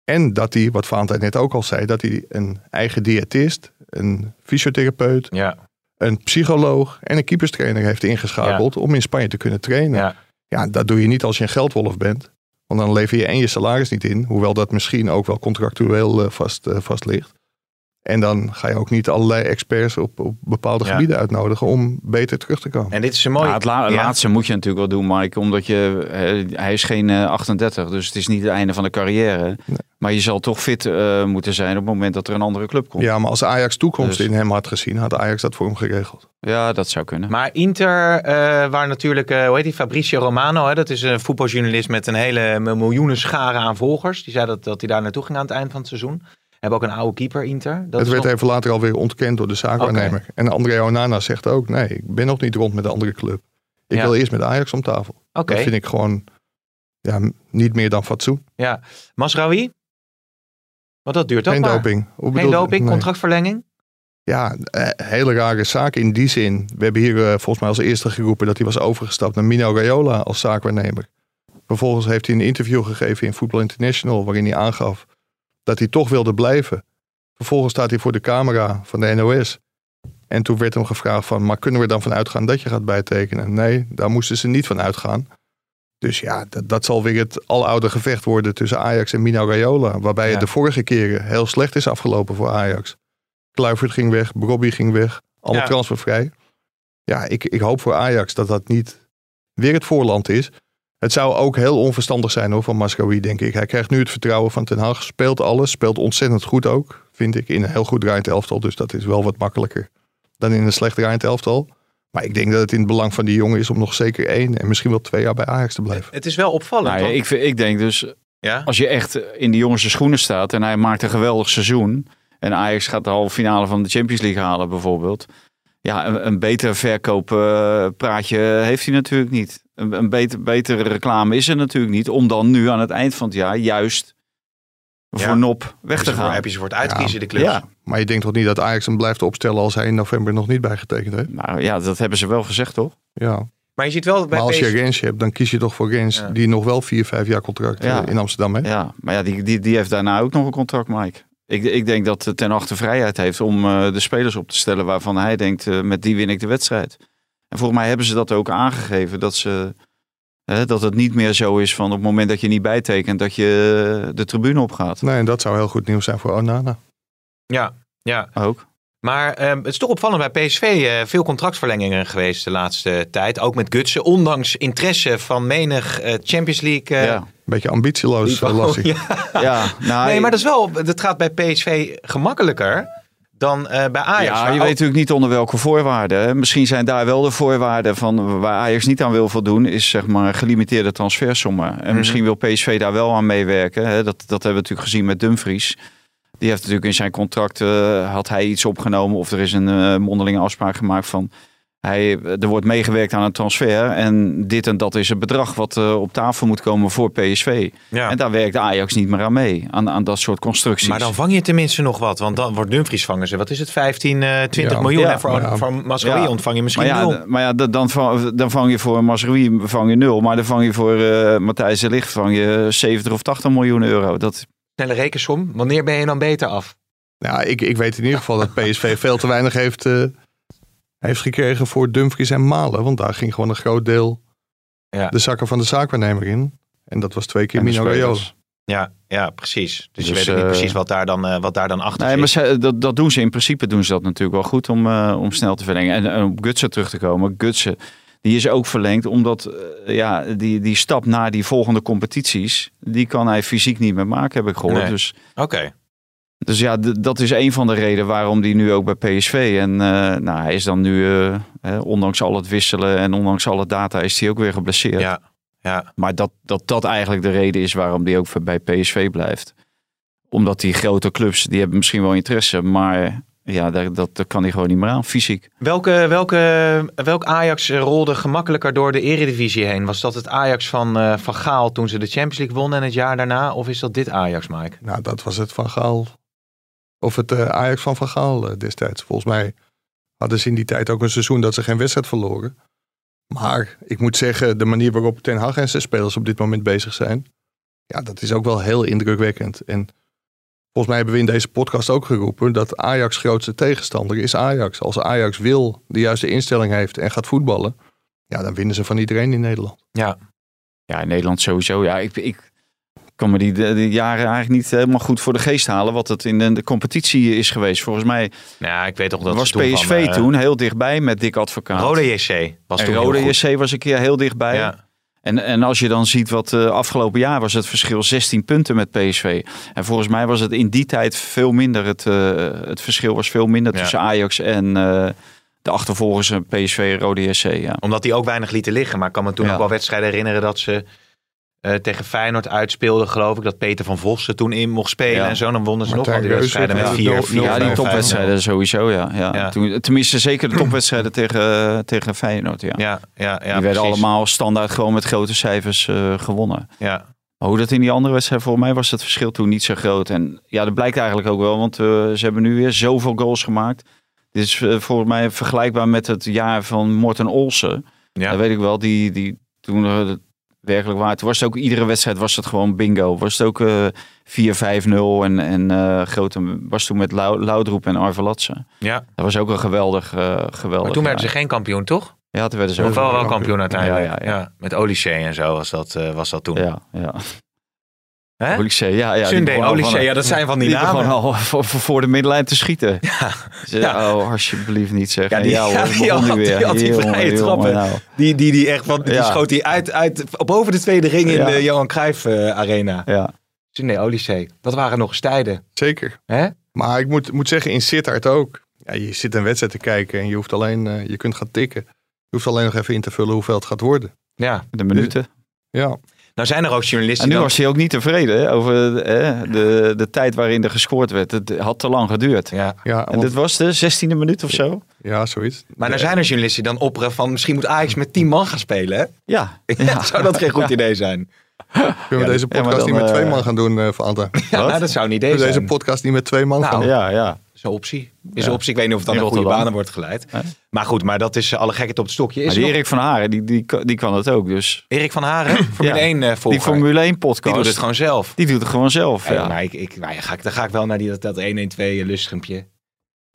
D: En dat hij, wat Valentijn net ook al zei, dat hij een eigen diëtist, een fysiotherapeut,
B: ja,
D: een psycholoog en een keeperstrainer heeft ingeschakeld om in Spanje te kunnen trainen.
B: Ja.
D: ja, dat doe je niet als je een geldwolf bent. Want dan lever je en je salaris niet in, hoewel dat misschien ook wel contractueel eh, vast, eh, vast ligt. En dan ga je ook niet allerlei experts op, op bepaalde
B: Ja.
D: gebieden uitnodigen om beter terug te komen.
B: en dit is een mooie...
C: Ja, Nou, het la-
B: Ja.
C: laatste moet je natuurlijk wel doen, Mike. Omdat je, eh, hij is geen eh, 38, dus het is niet het einde van de carrière.
D: Nee.
C: Maar je zal toch fit eh, moeten zijn op het moment dat er een andere club komt.
D: Ja, maar als Ajax toekomst
C: Dus-
D: in hem had gezien, had Ajax dat voor hem geregeld.
C: Ja, dat zou kunnen.
B: Maar Inter, eh, waar natuurlijk, eh, hoe heet die, Fabrizio Romano, hè, dat is een voetbaljournalist met een hele miljoenen schare aan volgers. Die zei dat, dat hij daar naartoe ging aan het eind van het seizoen. Hebben ook een oude keeper, Inter. Dat
D: het
B: is
D: werd
B: nog-
D: even later alweer ontkend door de zaakwaarnemer. En André Onana zegt ook, nee, ik ben nog niet rond met de andere club. Ik
B: Ja.
D: wil eerst met Ajax om tafel.
B: Oké,
D: Dat vind ik gewoon ja, m- niet meer dan fatsoen.
B: ja. Masraoui? Want dat duurt ook
D: Geen
B: maar.
D: doping. Hoe
B: Geen
D: bedoel-
B: doping,
D: nee.
B: contractverlenging?
D: Ja, eh, hele rare zaak in die zin. We hebben hier eh, volgens mij als eerste geroepen dat hij was overgestapt naar Mino Raiola als zaakwaarnemer. Vervolgens heeft hij een interview gegeven in Football International waarin hij aangaf dat hij toch wilde blijven. Vervolgens staat hij voor de camera van de NOS. En toen werd hem gevraagd van, maar kunnen we er dan van uitgaan dat je gaat bijtekenen? Nee, daar moesten ze niet van uitgaan. Dus ja, dat, dat zal weer het aloude gevecht worden tussen Ajax en Mino Raiola. Waarbij
B: Ja.
D: het de vorige keren heel slecht is afgelopen voor Ajax. Kluivert ging weg, Brobby ging weg, alle
B: Ja.
D: transfervrij. Ja, ik, ik hoop voor Ajax dat dat niet weer het voorland is. Het zou ook heel onverstandig zijn hoor, van Mascaoui, denk ik. Hij krijgt nu het vertrouwen van Ten Hag, speelt alles, speelt ontzettend goed ook, vind ik. In een heel goed draaiend elftal, dus dat is wel wat makkelijker dan in een slecht draaiend elftal. Maar ik denk dat het in het belang van die jongen is om nog zeker één en misschien wel twee jaar bij Ajax te blijven.
B: Het is wel opvallend,
C: Nou, ja,
B: toch?
C: ik, vind- ik denk dus,
B: ja?
C: als je echt in de jongste schoenen staat en hij maakt een geweldig seizoen. En Ajax gaat de halve finale van de Champions League halen bijvoorbeeld. ja, een, een beter verkooppraatje heeft hij natuurlijk niet. Een, een beter, betere reclame is er natuurlijk niet. Om dan nu aan het eind van het jaar juist
B: Ja.
C: voor Nop weg
B: Heb je ze
C: te
B: voor-
C: gaan.
B: Dus Heb je ze voor het uitkiezen, de clubs?
C: Ja,
D: Maar je denkt toch niet dat Ajax hem blijft opstellen als hij in november nog niet bijgetekend heeft?
C: nou ja, dat hebben ze wel gezegd, toch?
D: Ja.
B: Maar je ziet wel dat bij
D: Maar als je
B: PSV...
D: Rens hebt, dan kies je toch voor Rens
B: Ja.
D: die nog wel vier, vijf jaar contract eh,
C: Ja.
D: in Amsterdam heeft.
C: Ja, maar ja, die, die, die heeft daarna ook nog een contract, Mike. Ik, ik denk dat eh, Ten Hag de vrijheid heeft om eh, de spelers op te stellen waarvan hij denkt, eh, met die win ik de wedstrijd. En volgens mij hebben ze dat ook aangegeven, dat, ze, hè, dat het niet meer zo is van op het moment dat je niet bijtekent, dat je eh, de tribune opgaat.
D: Nee, en dat zou heel goed nieuws zijn voor Onana.
B: Ja, ja.
C: Ook.
B: Maar ehm, het is toch opvallend bij PSV. eh, veel contractverlengingen geweest de laatste tijd. Ook met Gutsen. Ondanks interesse van menig eh, Champions League. eh,
C: Ja.
D: Beetje ambitieloos,
B: niveau.
D: eh, las ik.
B: Ja.
C: ja, nou,
B: Nee, maar dat, is wel, dat gaat bij PSV gemakkelijker dan eh, bij Ajax.
C: Ja,
B: Maar
C: je
B: ook-
C: weet natuurlijk niet onder welke voorwaarden. hè. Misschien zijn daar wel de voorwaarden van waar Ajax niet aan wil voldoen, is zeg maar gelimiteerde transfersommen. En
B: Mhm.
C: misschien wil PSV daar wel aan meewerken. Hè. Dat, dat hebben we natuurlijk gezien met Dumfries. Die heeft natuurlijk in zijn contract, eh, had hij iets opgenomen of er is een eh, mondelinge afspraak gemaakt van hij, er wordt meegewerkt aan een transfer en dit en dat is het bedrag wat eh, op tafel moet komen voor PSV.
B: Ja.
C: En daar werkt Ajax niet meer aan mee, aan, aan dat soort constructies.
B: Maar dan vang je tenminste nog wat. Want dan wordt Dumfries vangen ze. Wat is het? 15, eh 20
D: Ja.
B: miljoen.
C: Ja,
B: en voor,
D: ja.
B: voor Mascardi
C: Ja.
B: ontvang je misschien
C: Maar ja,
B: nul.
C: d- maar ja d- dan, vang, dan vang je voor Masrui vang je nul. Maar dan vang je voor eh Matthijs de Ligt vang je 70 of 80 miljoen euro. Dat,
B: Snelle rekensom. Wanneer ben je dan beter af?
D: Nou, ik, ik weet in ieder geval dat
C: *laughs*
D: PSV veel te weinig heeft, eh, heeft gekregen voor Dumfries en Malen. Want daar ging gewoon een groot deel
B: Ja.
D: de zakken van de zaakwaarnemer in. En dat was twee keer
C: En de
D: Mino Raiola.
C: spelers.
B: Ja, ja precies. Dus, je
C: Dus,
B: weet ook niet
C: eh,
B: precies wat daar dan, eh, wat daar dan achter
C: nee, maar
B: zit.
C: ze- dat, dat doen ze in principe doen ze dat natuurlijk wel goed om, eh, om snel te verlengen. En, en op Gutsen terug te komen. Gutsen, die is ook verlengd omdat eh, ja, die, die stap naar die volgende competities, die kan hij fysiek niet meer maken, heb ik gehoord.
B: Nee.
C: Dus,
B: Oké.
C: dus ja, d- dat is een van de redenen waarom die nu ook bij PSV. En eh, nou, hij is dan nu, eh, hè, ondanks al het wisselen en ondanks alle data, is hij ook weer geblesseerd.
B: Ja. Ja.
C: Maar dat, dat dat eigenlijk de reden is waarom die ook bij PSV blijft. Omdat die grote clubs, die hebben misschien wel interesse, maar ja, daar, dat, dat kan hij gewoon niet meer aan, fysiek.
B: Welke, welke, welk Ajax rolde gemakkelijker door de eredivisie heen? Was dat het Ajax van, eh, van Gaal toen ze de Champions League wonnen en het jaar daarna? Of is dat dit Ajax, Mike?
D: Nou, dat was het Van Gaal. Of het eh, Ajax van Van Gaal eh, destijds. Volgens mij hadden ze in die tijd ook een seizoen dat ze geen wedstrijd verloren. Maar ik moet zeggen, de manier waarop Ten Hag en zijn spelers op dit moment bezig zijn. Ja, dat is ook wel heel indrukwekkend. En volgens mij hebben we in deze podcast ook geroepen dat Ajax grootste tegenstander is Ajax. Als Ajax wil, de juiste instelling heeft en gaat voetballen. Ja, dan winnen ze van iedereen in Nederland.
C: Ja, in Nederland sowieso. Ja, ik, ik kan me die, die jaren eigenlijk niet helemaal goed voor de geest halen wat het in de, de competitie is geweest. Volgens mij
B: Nou, ik weet toch dat
C: was
B: ze toen
C: PSV
B: van, eh,
C: toen heel dichtbij met Dick Advocaat.
B: Rode JC was
C: en
B: toen
C: Rode
B: heel goed.
C: JC was een keer heel dichtbij.
B: Ja.
C: En, en als je dan ziet wat eh, afgelopen jaar was het verschil 16 punten met PSV. En volgens mij was het in die tijd veel minder. Het, eh, het verschil was veel minder
B: Ja.
C: tussen Ajax en eh, de achtervolgers eh, PSV Rode SC. Ja.
B: Omdat die ook weinig lieten liggen. Maar ik kan me toen
C: Ja.
B: ook wel wedstrijden herinneren dat ze eh, tegen Feyenoord uitspeelden, geloof ik. Dat Peter van Vossen toen in mocht spelen
C: Ja.
B: en zo. Dan wonnen ze nog wel
D: Martijn
B: die
D: Reus
B: wedstrijden met
D: werd
B: 4-4.
D: nul- nul-
C: Ja, die
D: vijf,
C: topwedstrijden sowieso, ja. ja.
B: Ja.
C: Toen, tenminste, zeker de topwedstrijden tegen, eh, tegen Feyenoord, ja.
B: Ja, ja, ja.
C: die werden
B: precies.
C: allemaal standaard gewoon met grote cijfers eh, gewonnen.
B: Ja.
C: Maar hoe dat in die andere wedstrijd, volgens mij was het verschil toen niet zo groot. En ja, dat blijkt eigenlijk ook wel, want eh, ze hebben nu weer zoveel goals gemaakt. Dit is eh, volgens mij vergelijkbaar met het jaar van Morten Olsen.
B: Ja.
C: Dat weet ik wel, die, die toen eh, het werkelijk waar. Toen was het ook iedere wedstrijd was het gewoon bingo. Was het ook eh 4-5-0 en, en eh, grote, was toen met Lau- Laudroep en Arvelatse.
B: ja.
C: Dat was ook een geweldig, eh geweldig
B: Maar toen werden ze
C: jaar.
B: geen kampioen, toch?
C: Ja, toen werden ze
B: Of wel, wel
D: kampioen.
B: kampioen uiteindelijk. Ja,
C: Ja, ja, ja.
B: met Olysee en zo was dat, eh, was dat toen.
C: Ja, ja.
B: Hè?
C: Olysee, ja, ja. die
B: Sunday,
C: begon al van-
B: Olysee, ja, dat zijn van die,
C: Die
B: namen.
C: gewoon al *laughs* voor, voor- voor de middenlijn te schieten. Ja.
B: ja.
C: Oh, alsjeblieft niet zeggen.
B: Ja,
C: Ja,
B: die- *laughs* ja,
C: hoor, het
B: die
C: begon nu
B: had-
C: weer.
B: die had die
C: Jongen,
B: vrije
C: jongen,
B: trappen.
C: nou.
B: Die, die, die echt, want die
C: Ja.
B: schoot hij uit, uit, boven de tweede ring in
C: Ja.
B: de Johan Cruijff eh, Arena.
C: Ja.
B: Sunday, Olysee, dat waren nog eens tijden.
D: Zeker.
B: Hè?
D: Maar ik moet, moet zeggen, in Sittard ook. Ja, je zit een wedstrijd te kijken en je, hoeft alleen, eh, je kunt gaan tikken. Je hoeft alleen nog even in te vullen hoeveel het gaat worden.
B: Ja.
C: De minuten.
D: Ja,
B: Nou zijn er ook journalisten.
C: En nu
B: die
C: was hij ook niet tevreden hè, over eh, de, de tijd waarin er gescoord werd. Het had te lang geduurd.
B: dan- ja.
D: Ja,
C: En
D: want-
C: dit was de 16e minuut of zo?
D: ja, zoiets.
B: Maar daar zijn er journalisten die dan opperen van misschien moet Ajax met 10 man gaan spelen. Hè? *laughs*
C: Ja.
B: zou dat geen goed idee zijn?
D: Kunnen we deze
C: ja, maar
D: podcast niet
C: dan,
D: met twee
C: eh,
D: man gaan doen, eh
C: *laughs*
D: Fanta? Kunnen
B: Ja, nou, dat zou een idee
D: we
B: zijn.
D: deze podcast niet met twee man
B: Nou,
D: gaan doen?
C: Ja, ja.
B: is een optie. Is een optie. Ik weet niet of het aan
C: In
B: de goede
C: Rotterdam.
B: banen wordt geleid. Maar goed, maar dat is eh, alle gekheid op het stokje. Is
C: Maar
B: er
C: die
B: nog- Erik,
C: Erik van Haren, die, die, kan- die kan het ook. Dus
B: van
C: *clears throat*
B: Haren, Formule
C: Ja.
B: 1 eh, volger.
C: die Formule 1 podcast,
B: Die doet het gewoon zelf.
C: die eh, doet het gewoon zelf.
B: Hey,
C: Ja.
B: maar ik, ik, nou ja, ga ik, dan ga ik wel naar die, dat, dat 112 lustrumpje.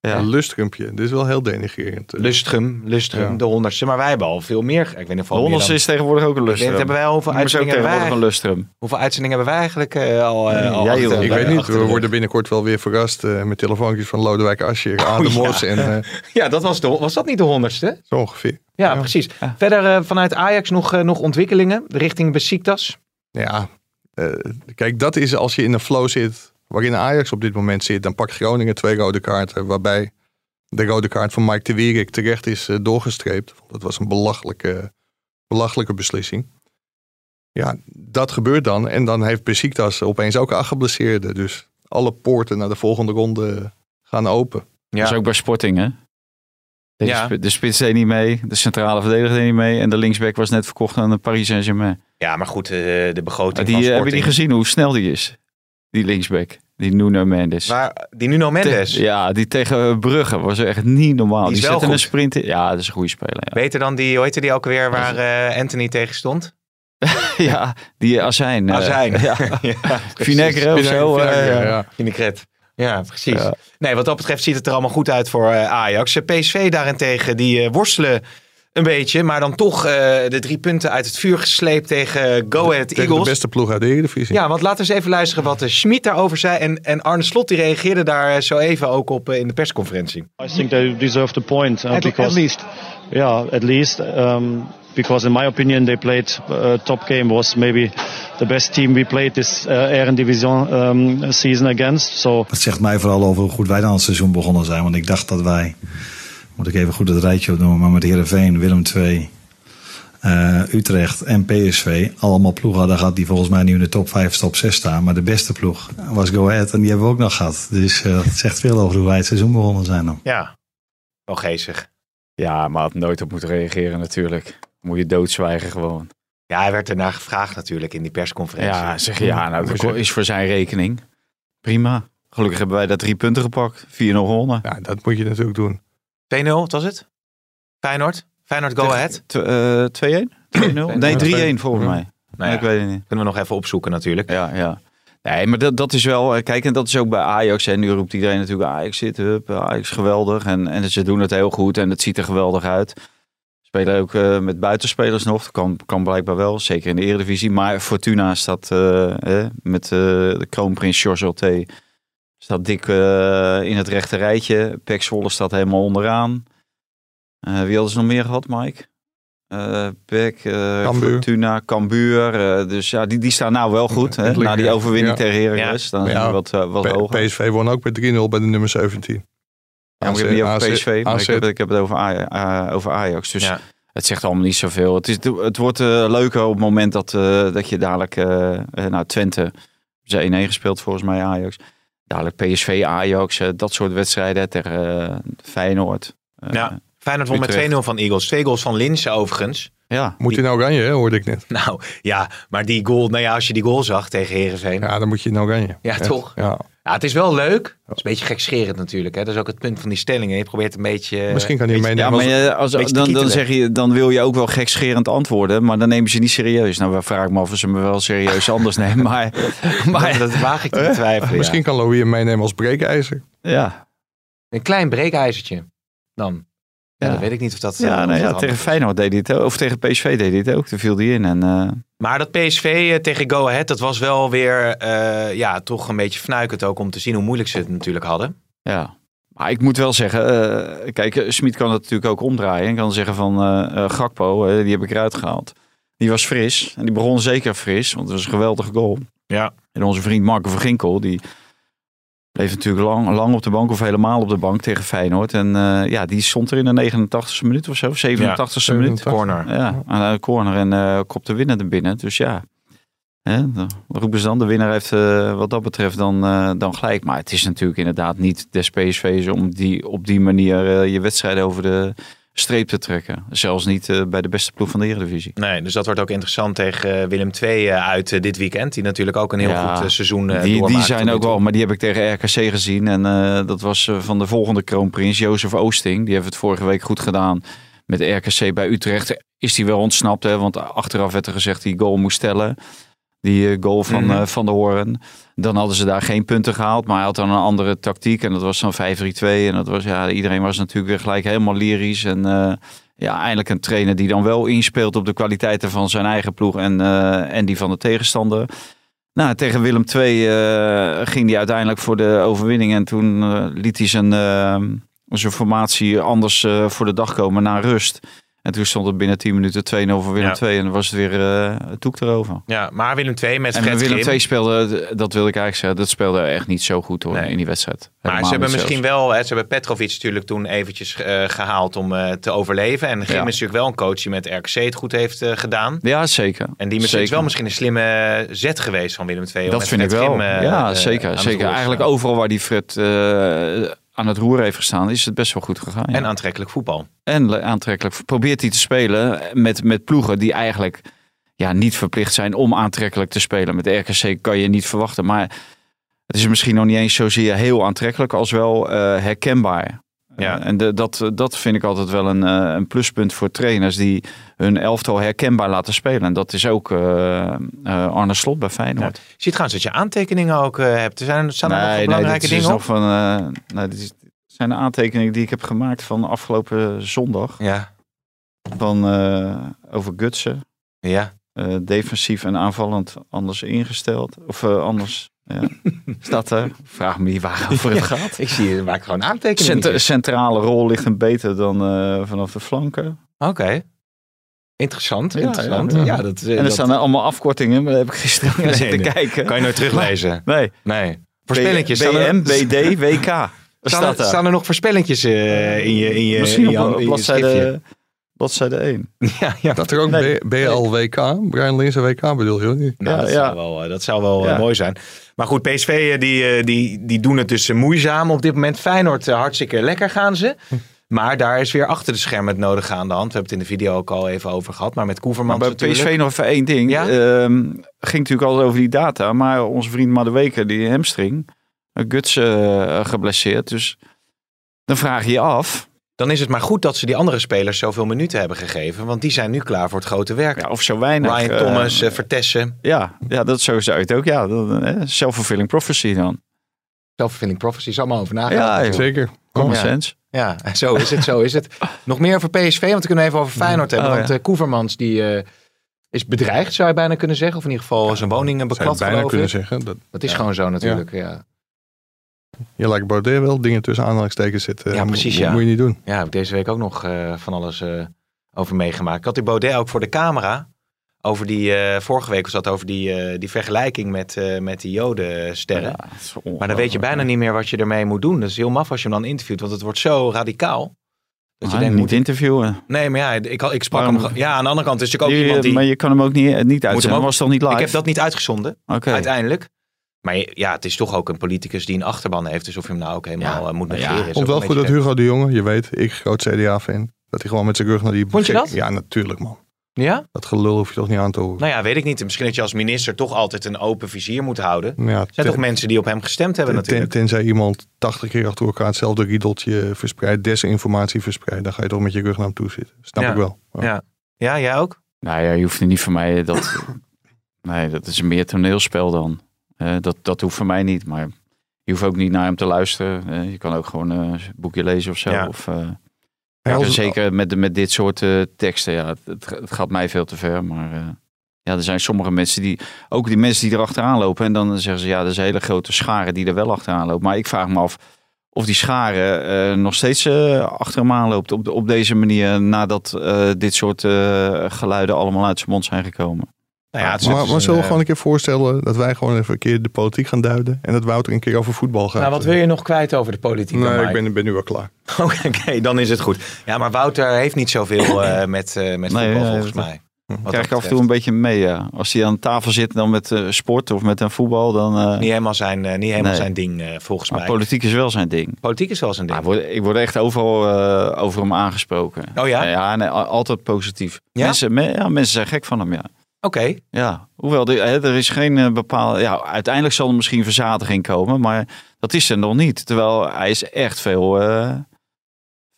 C: Ja.
D: Een lustrumpje. Dit is wel heel denigrerend.
B: Lustrum, lustrum,
D: Ja.
B: de honderdste. Maar wij hebben al veel meer. Ik weet niet of
C: de
B: al meer
C: Honderdste
B: dan-
C: is tegenwoordig ook een
B: Ik denk,
C: lustrum.
B: hebben wij al hoeveel
C: Die is ook
B: uitzendingen hebben
C: tegenwoordig
B: wij,
C: een lustrum.
B: hoeveel uitzendingen hebben wij eigenlijk eh, al, eh,
C: Nee,
B: al
C: jij
B: achter-
C: wil-
D: Ik
C: Ja,
D: weet niet,
B: achter
D: we
B: de rug?
D: worden binnenkort wel weer verrast eh, met telefoontjes van Lodewijk Asscher,
C: Oh,
D: Aan de
B: ja.
D: Mos en eh,
B: Ja, dat was, de, was dat niet de honderdste?
D: zo ongeveer.
B: Ja, precies. Verder eh, vanuit Ajax nog, eh, nog ontwikkelingen richting Besiktas.
D: Ja, eh, kijk, dat is als je in een flow zit waarin Ajax op dit moment zit, dan pakt Groningen twee rode kaarten, waarbij de rode kaart van Mike de Wierik terecht is eh, doorgestreept. Want Dat was een belachelijke, belachelijke beslissing. Ja, dat gebeurt dan. En dan heeft Besiktas opeens ook acht geblesseerden. Dus alle poorten naar de volgende ronde gaan open.
B: Ja.
C: Dat is ook bij Sporting, hè? De,
B: Ja.
C: sp- de spits deed niet mee, de centrale verdediger deed niet mee en de linksback was net verkocht aan de Paris Saint-Germain.
B: Ja, maar goed, eh, de
C: Maar
B: begroting
C: die,
B: van
C: eh,
B: Sporting.
C: hebben jullie gezien hoe snel die is? Die linksback, die Nuno Mendes.
B: Maar die Nuno Mendes,
C: Ja, die tegen eh, Brugge was echt niet normaal.
B: Die
C: Die,
B: is wel
C: zette een
B: goed.
C: sprint in. Ja, dat is een goede speler.
B: *laughs*
C: Ja,
B: beter dan die, hoe heette die ook weer, waar eh, Anthony tegen stond?
C: ja die Azijn. eh,
B: Azijn.
C: *laughs* Ja.
B: *laughs* ja,
C: Finekre of zo.
D: Finekre,
C: eh,
D: ja, ja.
B: Vinaigrette. Ja, precies.
C: Ja.
B: Nee, wat dat betreft ziet het er allemaal goed uit voor eh, Ajax. Eh, PSV daarentegen, die eh, worstelen een beetje. Maar dan toch eh, de drie punten uit het vuur gesleept tegen eh, Go Ahead
D: Tegen de
B: Eagles.
D: beste ploeg uit de Eredivisie.
B: Ja, want laten we eens even luisteren wat eh, Schmid daarover zei. En, en Arne Slot die reageerde daar eh, zo even ook op eh, in de persconferentie.
G: I think they deserve the point. Uh, because,
H: least.
G: Yeah, at least. Um, because in my opinion, they played uh, top game. Was maybe the best team we played this uh, Eredivision um, season against. So
H: Het zegt mij vooral over hoe goed wij dan aan het seizoen begonnen zijn. Want ik dacht dat wij, moet ik even goed het rijtje opnoemen, maar met Herenveen, Willem II, eh, Utrecht en PSV allemaal ploegen hadden gehad die volgens mij nu in de top 5, top 6 staan. Maar de beste ploeg was Go Ahead en die hebben we ook nog gehad. Dus eh, het zegt veel over hoe wij het seizoen begonnen zijn dan.
B: Ja, wel Oh, geestig.
C: Ja, maar had nooit op moeten reageren natuurlijk. Moet je doodzwijgen gewoon.
B: Ja, hij werd daarna gevraagd natuurlijk in die persconferentie.
C: Ja, zeg je, ja, nou, dat is voor zijn rekening. Prima. Gelukkig hebben wij daar drie punten gepakt. 4-0 gewonnen.
D: Ja, dat moet je natuurlijk doen.
B: 2-0, wat was het? Feyenoord? Feyenoord Go Ahead?
C: Tw- eh, 2-1? 2-0? Nee, 3-1 volgens mij.
B: Nou ja,
C: Ik weet het niet.
B: kunnen we nog even opzoeken natuurlijk.
C: Ja, ja. Nee, maar dat, dat is wel... eh, Kijk, en dat is ook bij Ajax. En nu roept iedereen natuurlijk Ajax zit, hup, Ajax geweldig. En, en ze doen het heel goed en het ziet er geweldig uit. Spelen ook eh, met buitenspelers nog. Dat kan, kan blijkbaar wel, zeker in de Eredivisie. Maar Fortuna staat eh, eh, met eh, de kroonprins George Olte staat dik eh, in het rechte rijtje. Pek Zwolle staat helemaal onderaan. Eh, wie hadden ze nog meer gehad, Mike? Eh Pek, eh,
D: Cambuur.
C: Fortuna, Cambuur. eh, dus ja, die, die staan nou wel goed. Hè?
D: Eindelijk,
C: Na die
D: ja.
C: overwinning
D: Ja.
C: tegen Heracles. Dan zijn
D: Ja.
C: we wat, eh, wat
D: P-
C: hoger.
D: PSV won ook met 3-0 bij de nummer 17.
C: Ja, maar ik heb het niet over
D: AZ,
C: PSV, maar ik
D: AZ.
C: heb, het- ik heb het over, Aj- eh, over Ajax. Dus
B: Ja.
C: het zegt allemaal niet zoveel. Het, is, het wordt eh, leuker op het moment dat, eh, dat je dadelijk... eh, eh, nou, Twente, ze 1-1 gespeeld volgens mij, Ajax. Dadelijk PSV, Ajax, eh, dat soort wedstrijden tegen eh, Feyenoord. Eh,
B: Ja. Feyenoord won met 2-0
C: Utrecht.
B: van Eagles. Twee goals van Linsen overigens. *laughs*
C: ja.
D: Moet in oranje, hè, hoorde ik net.
B: Nou ja, maar die goal, nou ja, als je die goal zag tegen Herenveen. Ja.
D: Ja, dan moet je in oranje.
B: Ja,
D: Echt.
B: toch?
D: Ja.
B: het is wel leuk. Het is een beetje gekscherend natuurlijk. Hè? Dat is ook het punt van die stellingen. Je probeert een beetje. eh,
D: Misschien kan hij
B: weet je-
D: meenemen.
C: Ja, maar je- als,
B: beetje te
C: dan, dan,
B: kietelen.
C: zeg je, dan wil je ook wel gekscherend antwoorden, maar dan nemen ze niet serieus. Nou, we vragen me af of ze me wel serieus anders *laughs* nemen, maar,
B: Maar
C: maar
B: *laughs* dat waag ik te betwijfelen.
D: *laughs* Misschien
B: Misschien
D: kan Louis hem meenemen als breekijzer.
C: ja.
B: een klein breekijzertje dan. Ja,
C: Ja.
B: Dat weet ik niet of dat.
C: Ja,
B: eh,
C: nou
B: of
C: ja
B: dat
C: tegen
B: handig is.
C: Feyenoord deed hij het ook. Of tegen PSV deed hij het ook. Toen viel hij in. En, eh,
B: Maar dat PSV eh, tegen Go Ahead, dat was wel weer eh, ja, toch een beetje fnuikend ook om te zien hoe moeilijk ze het natuurlijk hadden.
C: ja. Maar ik moet wel zeggen, eh, kijk, eh, Smit kan het natuurlijk ook omdraaien. En kan zeggen van eh, eh, Gakpo, eh, die heb ik eruit gehaald. Die was fris. En die begon zeker fris, want het was een geweldige goal.
B: Ja.
C: En onze vriend Marco van Ginkel, die bleef natuurlijk lang, lang op de bank of helemaal op de bank tegen Feyenoord. En eh, ja, die stond er in de 89ste minuut of zo, 87ste minuut.
B: Corner.
C: Ja, aan de corner en eh kopte winnende binnen. Dus ja, Hè, dan roepen ze dan, de winnaar heeft eh, wat dat betreft dan, eh, dan gelijk. Maar het is natuurlijk inderdaad niet des PSV's om die, op die manier eh, je wedstrijden over de streep te trekken. Zelfs niet eh, bij de beste ploeg van de Eredivisie.
B: Nee, dus dat wordt ook interessant tegen eh, Willem II eh, uit eh, dit weekend. Die natuurlijk ook een heel
C: Ja,
B: goed eh, seizoen eh,
C: die,
B: doormaakt
C: die
B: tot
C: zijn
B: nu
C: ook
B: toe.
C: wel, maar die heb ik tegen RKC gezien. En eh, dat was eh, van de volgende kroonprins, Jozef Oosting. Die heeft het vorige week goed gedaan met RKC bij Utrecht. Is die wel ontsnapt, hè? want achteraf werd er gezegd die goal moest tellen. Die eh, goal van,
B: Mhm.
C: eh, van de Hoorn. Dan hadden ze daar geen punten gehaald. Maar hij had dan een andere tactiek. En dat was dan 5-3-2. En dat was, ja, iedereen was natuurlijk weer gelijk helemaal lyrisch. En eh, ja, eindelijk een trainer die dan wel inspeelt op de kwaliteiten van zijn eigen ploeg. En, eh, en die van de tegenstander. Nou, tegen Willem II eh, ging hij uiteindelijk voor de overwinning. En toen eh, liet hij zijn, eh, zijn formatie anders eh, voor de dag komen na rust. En toen stond het binnen 10 minuten 2-0 voor Willem
B: Ja.
C: II. En dan was het weer eh het doek erover.
B: Ja, maar Willem II met
C: En
B: Fred
C: Willem
B: Grim.
C: II speelde, dat wilde ik eigenlijk zeggen, dat speelde echt niet zo goed hoor
B: Nee.
C: in die wedstrijd.
B: Maar
C: Helemaal
B: ze hebben
C: niet
B: misschien
C: zelfs.
B: wel, hè, ze hebben Petrovic natuurlijk toen eventjes eh, gehaald om eh, te overleven. En Grim
C: Ja.
B: is natuurlijk wel een coach die met RKC het goed heeft eh, gedaan.
C: Ja, zeker.
B: En die misschien
C: Zeker.
B: is wel misschien een slimme eh, zet geweest van Willem II. om
C: Dat
B: met
C: vind ik
B: Fred
C: wel.
B: Grim, eh,
C: ja,
B: eh, aan
C: zeker.
B: het
C: zeker.
B: roer te
C: Eigenlijk
B: staan.
C: overal waar die Fred eh, aan het roer heeft gestaan, is het best wel goed gegaan. ja.
B: En aantrekkelijk voetbal.
C: en le- aantrekkelijk. Probeert hij te spelen met, met ploegen die eigenlijk ja, niet verplicht zijn om aantrekkelijk te spelen. Met RKC kan je niet verwachten. Maar het is misschien nog niet eens zozeer heel aantrekkelijk als wel eh, herkenbaar.
B: Ja.
C: Eh, en de- dat, dat vind ik altijd wel een, eh, een pluspunt voor trainers die hun elftal herkenbaar laten spelen. En dat is ook eh, eh, Arne Slot bij Feyenoord.
B: Je ziet trouwens dat je aantekeningen ook eh, hebt. Er zijn, staan er nog wat belangrijke
C: dit is
B: dingen op.
C: nog van, eh, nee, dit is- dit zijn de aantekeningen die ik heb gemaakt van afgelopen zondag.
B: Ja,
C: Van, eh, over Gutsen.
B: ja.
C: Eh, defensief en aanvallend anders ingesteld. Of eh, anders. Ja. eh? Staat er? Vraag me niet *laughs* waarover het gaat.
B: Ik zie, je maakt gewoon aantekeningen.
C: Cent- centrale rol ligt hem beter dan eh, vanaf de flanken.
B: Oké. Interessant,
C: Ja,
B: interessant.
C: ja,
B: Ja,
C: ja.
B: dat,
C: En er staan er allemaal afkortingen, maar daar heb ik gisteren naar
B: Nee,
C: zitten
B: nee.
C: kijken.
B: Kan je nooit teruglezen?
C: Nee,
B: Nee. Voorspelletjes.
C: B-
B: staan er-
C: BM, BD, WK. Daar
B: Staan er,
C: Staat er.
B: staan er nog voorspellingjes eh, in je in je
C: Misschien
B: in je,
C: op
B: hand- in je schriftje?
C: bladzijde, bladzijde 1.
B: *laughs* Ja, ja.
D: Dat er ook
C: Nee.
D: B- BLWK, Brian Linse WK bedoel je? of niet?
B: Nou,
C: Ja,
B: dat,
C: ja.
B: Zou wel, eh, dat zou wel eh,
C: Ja.
B: mooi zijn. Maar goed, PSV eh, die, eh, die, die doen het dus eh, moeizaam op dit moment. Feyenoord eh, hartstikke lekker gaan ze. Maar daar is weer achter de schermen het nodige aan de hand. We hebben het in de video ook al even over gehad. Maar met
C: Maar
B: Koevermans
C: bij
B: natuurlijk.
C: PSV nog even één ding.
B: Ja?
C: Ehm, ging natuurlijk altijd over die data. Maar onze vriend Madueke, die hamstring. eh, Guts eh, geblesseerd. Dus dan vraag je je af.
B: Dan is het maar goed dat ze die andere spelers zoveel minuten hebben gegeven. Want die zijn nu klaar voor het grote werk.
C: Ja, of zo weinig.
B: Ryan
C: eh,
B: Thomas, eh, Vertessen.
C: ja, ja, dat zo zou je het ook. Ja, dat, eh, self-fulfilling prophecy dan.
B: Self-fulfilling prophecy. Zal maar over
C: Ja,
B: nagaan.
C: joh.
D: Zeker.
C: Common
B: Ah, Ja.
C: sense.
B: Ja, zo is het, zo is het. Nog meer over PSV, want we kunnen even over Feyenoord hebben.
C: Oh,
B: want
C: ja.
B: eh, Koevermans die, eh, is bedreigd, zou je bijna kunnen zeggen. Of in ieder geval zijn woning eh,
D: Zou je
B: beklad,
D: bijna
B: geloof
D: kunnen
B: ik.
D: zeggen. Dat,
B: Dat is gewoon zo natuurlijk, ja.
D: je lijkt Baudet wel dingen tussen aanhalingstekens zitten.
B: Ja, precies, ja.
D: Moet je niet doen.
B: Ja, heb ik deze week ook nog eh, van alles eh, over meegemaakt. Ik had die Baudet ook voor de camera. Over die, eh, vorige week was dat over die, eh, die vergelijking met, eh, met die jodensterren.
C: Ja, dat is
B: Maar dan weet je bijna niet meer wat je ermee moet doen. Dat is heel maf als je hem dan interviewt, want het wordt zo radicaal. Dat je
C: Ah,
B: denkt,
C: niet
B: moet ik-
C: interviewen.
B: Nee, maar ja, ik, ik sprak
C: Waarom-
B: hem... ge- Ja, aan de andere kant is natuurlijk ook
C: Je-
B: iemand die...
C: Maar je kan hem ook niet, niet uitzenden.
B: ook-
C: was toch niet live?
B: Ik heb dat niet uitgezonden,
C: Oké.
B: uiteindelijk. Maar je- ja, het is toch ook een politicus die een achterban heeft. Dus of je hem nou ook helemaal
C: Ja.
B: eh, moet
C: Ja.
B: negeren. is
D: Vond
B: ook
D: wel
B: een
D: goed dat
B: beetje
D: Hugo de Jonge, je weet, ik groot CDA-fan, dat hij gewoon met zijn rug naar die...
B: Vond je dat?
D: Ja, natuurlijk man.
B: gek. Ja?
D: Dat gelul hoef je toch niet aan te horen.
B: Nou ja, weet ik niet. Misschien dat je als minister toch altijd een open vizier moet houden.
D: Ja,
B: Er zijn
D: ten-
B: toch mensen die op hem gestemd hebben
D: ten-
B: natuurlijk.
D: tenzij iemand 80 keer achter elkaar hetzelfde riedeltje verspreidt, desinformatie verspreidt, dan ga je toch met je rug naar hem toe zitten. Snap
B: Ja.
D: ik wel.
B: Ja. Ja, jij ook?
C: Nou ja, je hoeft er niet van mij dat. nee, dat is meer toneelspel dan. Eh, dat, dat hoeft voor mij niet, maar je hoeft ook niet naar hem te luisteren. Eh, je kan ook gewoon eh, een boekje lezen of zo.
B: Ja.
C: Of, eh,
D: Ja,
C: en
D: als-
C: zeker met, met dit soort eh, teksten. Ja, het, het, het gaat mij veel te ver, maar. eh, ja, er zijn sommige mensen die, ook die mensen die erachteraan lopen. En dan zeggen ze, ja, er is een hele grote schare die er wel achteraan loopt. Maar ik vraag me af of die schare eh, nog steeds eh, achter hem aan loopt. Op, de- op deze manier, nadat eh, dit soort eh, geluiden allemaal uit zijn mond zijn gekomen.
B: Nou ja, het is-
D: maar,
B: het is
D: maar zullen we
B: een,
D: gewoon een keer voorstellen dat wij gewoon even een keer de politiek gaan duiden en dat Wouter een keer over voetbal
B: eh,
D: gaat?
B: Nou, wat wil je nog kwijt over de politiek? dan,
D: Nee, ik
B: Mike?
D: ben, ben nu wel klaar.
B: *laughs* Oké, dan is het goed. Ja, maar Wouter heeft niet zoveel eh, met, eh, met
C: Nee,
B: voetbal
C: nee,
B: volgens
C: dat-
B: mij. Wat
C: krijg ik
B: dat
C: af en toe een beetje mee. Ja. Als hij aan tafel zit dan met eh, sport of met een voetbal, dan. eh,
B: Niet helemaal zijn, eh, niet helemaal
C: Nee.
B: zijn ding, eh, volgens
C: maar
B: mij.
C: politiek is wel zijn ding.
B: Politiek is wel zijn
C: Maar
B: ding.
C: ik word, ik word echt overal eh, over hem aangesproken.
B: Oh ja?
C: Ja, nee, al- altijd positief.
B: Ja?
C: Mensen, me- ja, mensen zijn gek van hem, ja.
B: Oké,
C: Ja, hoewel de- hè, er is geen eh, bepaalde. Ja, uiteindelijk zal er misschien verzadiging komen, maar dat is er nog niet. Terwijl hij is echt veel, eh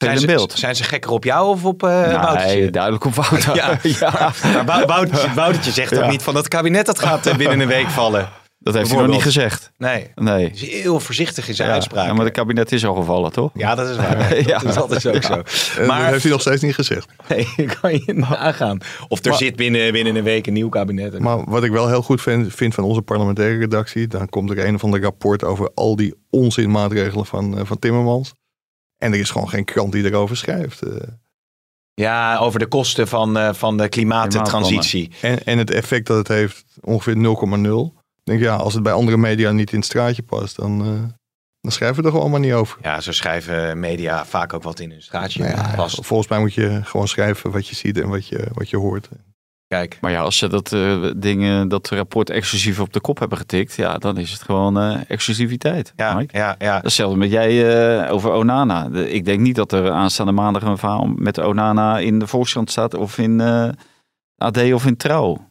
C: veel
B: zijn, ze-
C: in beeld.
B: zijn ze gekker op jou of op eh Woutertje?
C: *laughs* nee, duidelijk op
B: *laughs*
C: Wouter. *laughs*
B: Ja. Maar Wou- Woutertje, Woutertje zegt toch
C: Ja.
B: niet van dat kabinet dat gaat eh, binnen een
C: *laughs*
B: week vallen?
C: dat heeft hij nog
B: Bijvoorbeeld.
C: niet gezegd.
B: Nee,
C: Nee.
B: hij is heel voorzichtig in zijn
C: Ja.
B: uitspraken.
C: Ja, maar het kabinet is al gevallen, toch?
B: Ja, dat is waar.
C: *laughs* Ja.
B: Dat, is- dat is ook zo.
D: En Eh, dat
B: Maar
D: heeft hij nog steeds niet gezegd.
B: nee, *laughs* kan je nagaan. Of er zit binnen, binnen een week een nieuw kabinet.
D: Maar wat ik wel heel goed vind, vind van onze parlementaire redactie, dan komt er een of ander rapport over al die onzinmaatregelen van, eh, van Timmermans. En er is gewoon geen krant die erover schrijft. eh.
B: Ja, over de kosten van, eh, van de klimaattransitie.
D: En, en het effect dat het heeft, ongeveer 0,0. Ik denk ja, als het bij andere media niet in het straatje past, dan, eh, dan schrijven we er gewoon maar niet over.
B: Ja, zo schrijven media vaak ook wat in hun straatje
D: Nou ja,
B: past.
D: volgens mij moet je gewoon schrijven wat je ziet en wat je, wat je hoort.
B: Kijk,
C: Maar ja, als ze dat, eh, ding, eh, dat rapport exclusief op de kop hebben getikt, ja, dan is het gewoon eh, exclusiviteit.
B: ja,
C: Mike.
B: ja, ja.
C: Hetzelfde met jij eh, over Onana. De- ik denk niet dat er aanstaande maandag een verhaal met Onana in de Volkskrant staat of in eh, AD of in Trouw.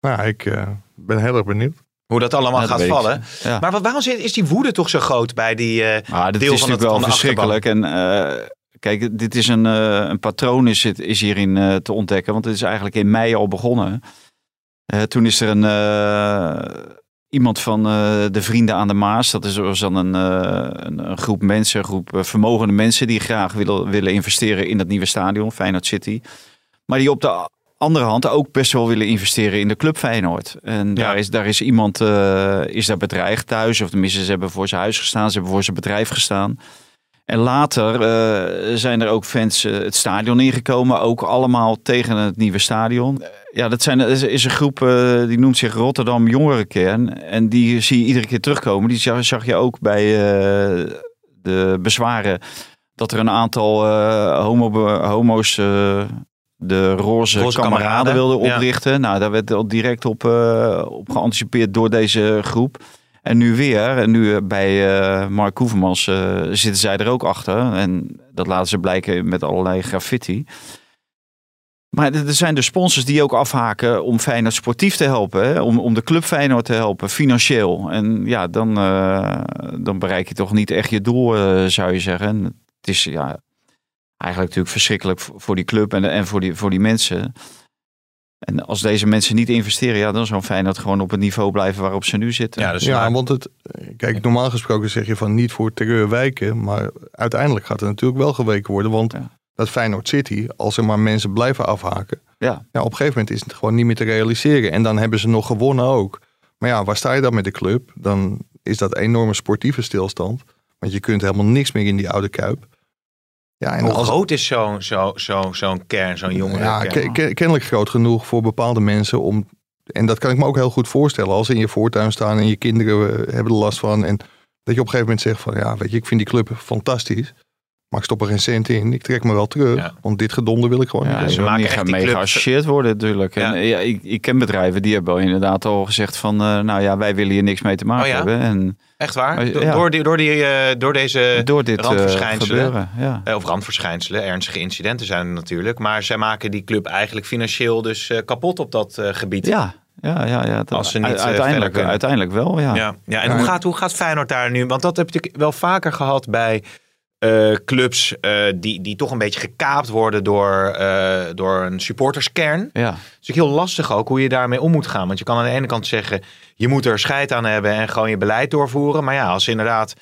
D: Nou, ik eh, ben heel erg benieuwd.
B: hoe dat allemaal
C: Ja, dat
B: gaat
C: weet ik.
B: vallen.
C: Ja.
B: Maar wat, waarom is- is die woede toch zo groot bij die... eh,
C: Maar dit
B: Deel
C: is
B: van
C: natuurlijk
B: het- van
C: wel
B: de
C: verschrikkelijk. En eh, kijk, dit is een, eh, een patroon is, het- is hierin eh, te ontdekken. Want het is eigenlijk in mei al begonnen. Eh, toen is er een, eh, iemand van eh, de Vrienden aan de Maas. Dat is was dan een, eh, een, een groep mensen, een groep eh, vermogende mensen die graag willen, willen investeren in dat nieuwe stadion, Feyenoord City. Maar die op de andere hand ook best wel willen investeren in de club Feyenoord. En daar, is, daar is iemand eh, is daar bedreigd thuis. Of tenminste, ze hebben voor zijn huis gestaan, ze hebben voor zijn bedrijf gestaan. En later eh, zijn er ook fans eh, het stadion ingekomen. Ook allemaal tegen het nieuwe stadion. Eh, Ja, dat zijn, is, is een groep eh, die noemt zich Rotterdam Jongerenkern. En die zie je iedere keer terugkomen. Die zag, zag je ook bij eh, de bezwaren. Dat er een aantal eh, homo, homo's eh, de roze,
B: Roze
C: kameraden,
B: kameraden,
C: wilden
B: ja.
C: oprichten. Nou, daar werd al direct op, eh, op geanticipeerd door deze groep. En nu weer, en nu eh, bij eh Mark Hoevermans eh, zitten zij er ook achter. En dat laten ze blijken met allerlei graffiti. Maar er er zijn dus sponsors die ook afhaken om Feyenoord sportief te helpen. Hè? Om, om de club Feyenoord te helpen, financieel. En ja, dan, eh, dan bereik je toch niet echt je doel, eh, zou je zeggen. En het is ja, eigenlijk natuurlijk verschrikkelijk voor voor die club en, en voor, die, voor die mensen. En als deze mensen niet investeren, ja, dan zou Feyenoord gewoon op het niveau blijven waarop ze nu zitten.
B: Ja, dus
D: ja,
B: maar-
D: want het, kijk, normaal gesproken zeg je van niet voor terreur wijken. Maar uiteindelijk gaat er natuurlijk wel geweken worden. Want
C: Ja.
D: dat Feyenoord City, als er maar mensen blijven afhaken.
C: Ja.
D: op een gegeven moment is het gewoon niet meer te realiseren. En dan hebben ze nog gewonnen ook. Maar ja, waar sta je dan met de club? Dan is dat enorme sportieve stilstand. Want je kunt helemaal niks meer in die oude kuip. Ja, en
B: hoe
D: als-
B: groot is zo'n zo, zo, zo'n kern, zo'n jongere
D: Ja,
B: kern?
D: ke- ke- kennelijk groot genoeg voor bepaalde mensen om. En dat kan ik me ook heel goed voorstellen. Als ze in je voortuin staan en je kinderen eh, hebben er last van. En dat je op een gegeven moment zegt van ja, weet je, ik vind die club fantastisch. Maar ik stop er geen cent in. Ik trek me wel terug.
B: Ja.
D: Want dit gedonde wil ik gewoon
C: Ja,
D: niet.
B: ze
C: ze
B: maken
C: maken
B: echt
C: gaan
B: die
C: mee
B: club-
C: geassocieerd worden natuurlijk. En,
B: Ja.
C: eh, ja, ik, ik ken bedrijven die hebben al inderdaad al gezegd van... eh, nou ja, wij willen hier niks mee te maken
B: Oh ja?
C: hebben. En
B: Echt waar?
C: Maar-
B: Do-
C: ja.
B: Door, die, door, die, eh, door deze
C: door dit eh,
B: randverschijnselen.
C: gebeuren. Ja.
B: eh, of randverschijnselen, ernstige incidenten zijn er natuurlijk. Maar zij maken die club eigenlijk financieel dus eh, kapot op dat eh, gebied.
C: Ja, ja, ja. ja dat-
B: Als ze niet, eh, verder
C: uiteindelijk,
B: kunnen.
C: uiteindelijk wel, Ah. ja.
B: Ja, ja en hoe gaat, hoe gaat Feyenoord daar nu? Want dat heb je natuurlijk wel vaker gehad bij eh, clubs eh, die, die toch een beetje gekaapt worden door, eh, door een supporterskern. Het
C: Ja.
B: is natuurlijk heel lastig ook hoe je daarmee om moet gaan. Want je kan aan de ene kant zeggen, je moet er scheid aan hebben en gewoon je beleid doorvoeren. Maar ja, als ze inderdaad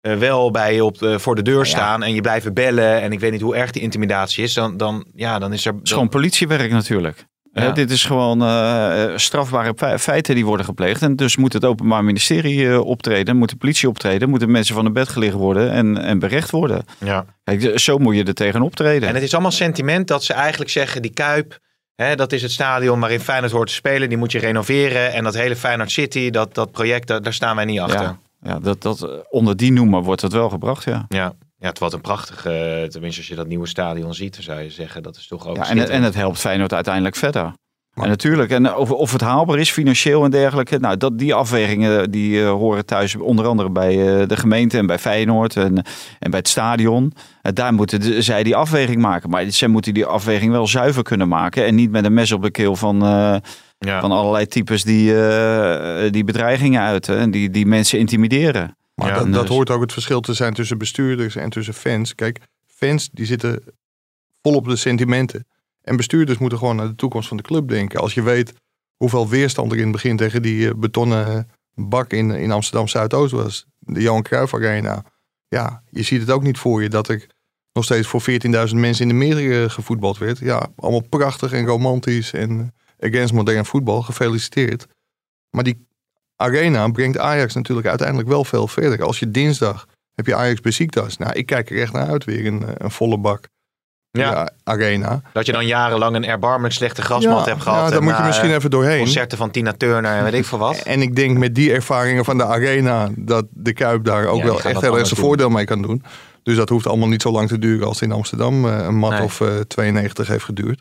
B: eh, wel bij je op, de- voor de deur staan en je blijven bellen en ik weet niet hoe erg die intimidatie is, dan, dan, ja, dan is er...
C: Het is gewoon politiewerk natuurlijk.
B: Ja.
C: Hè, dit is gewoon eh, strafbare fe- feiten die worden gepleegd. En dus moet het Openbaar Ministerie eh, optreden, moet de politie optreden, moeten mensen van de bed gelicht worden en, en berecht worden.
B: ja.
C: Kijk, zo moet je er tegen optreden.
B: En het is allemaal sentiment dat ze eigenlijk zeggen: die Kuip, hè, dat is het stadion waarin Feyenoord hoort te spelen. Die moet je renoveren. En dat hele Feyenoord City, dat, dat project, daar, daar staan wij niet achter.
C: ja,
B: Ja,
C: ja dat, dat, eh, onder die noemer wordt het wel gebracht, ja.
B: ja. het wat een prachtige. eh, Tenminste, als je dat nieuwe stadion ziet, dan zou je zeggen: dat is toch ook.
C: ja en, het-
B: schitterend.
C: en het helpt Feyenoord uiteindelijk verder. En natuurlijk, en of, of het haalbaar is financieel en dergelijke. Nou, dat, die afwegingen die eh, horen thuis onder andere bij eh, de gemeente en bij Feyenoord en, en bij het stadion. Eh, daar moeten de- zij die afweging maken. Maar zij moeten die afweging wel zuiver kunnen maken. En niet met een mes op de keel van, eh,
B: Ja.
C: van allerlei types die, eh, die bedreigingen uiten. En die, die mensen intimideren.
D: Maar
B: Ja,
D: dat,
C: en
D: dat
C: dus-
D: hoort ook het verschil te zijn tussen bestuurders en tussen fans. Kijk, fans die zitten vol op de sentimenten. En bestuurders moeten gewoon naar de toekomst van de club denken. Als je weet hoeveel weerstand er in het begin tegen die eh, betonnen bak in, in Amsterdam Zuidoost was. De Johan Cruijff Arena. Ja, je ziet het ook niet voor je dat ik nog steeds voor 14.000 mensen in Amerika eh, gevoetbald werd. Ja, allemaal prachtig en romantisch en eh, against modern voetbal. Gefeliciteerd. Maar die arena brengt Ajax natuurlijk uiteindelijk wel veel verder. Als je dinsdag heb je Ajax Besiktas. Nou, ik kijk er echt naar uit weer een, eh, een volle bak.
B: Ja.
D: Ja, arena.
B: Dat je dan jarenlang een erbarmend slechte grasmat
D: Ja,
B: hebt gehad.
D: nou, daar
B: en
D: moet je
B: na,
D: misschien
B: eh,
D: even doorheen.
B: Concerten van Tina Turner en weet ik
C: *laughs*
B: veel wat.
D: En ik denk met die ervaringen van de arena dat de Kuip daar ook
B: Ja, die
D: wel
B: gaat
D: echt
B: dat
D: heel erg
B: anders
D: zijn
B: doen.
D: voordeel mee kan doen. Dus dat hoeft allemaal niet zo lang te duren als in Amsterdam eh, een mat
B: Nee.
D: of eh, 92 heeft geduurd.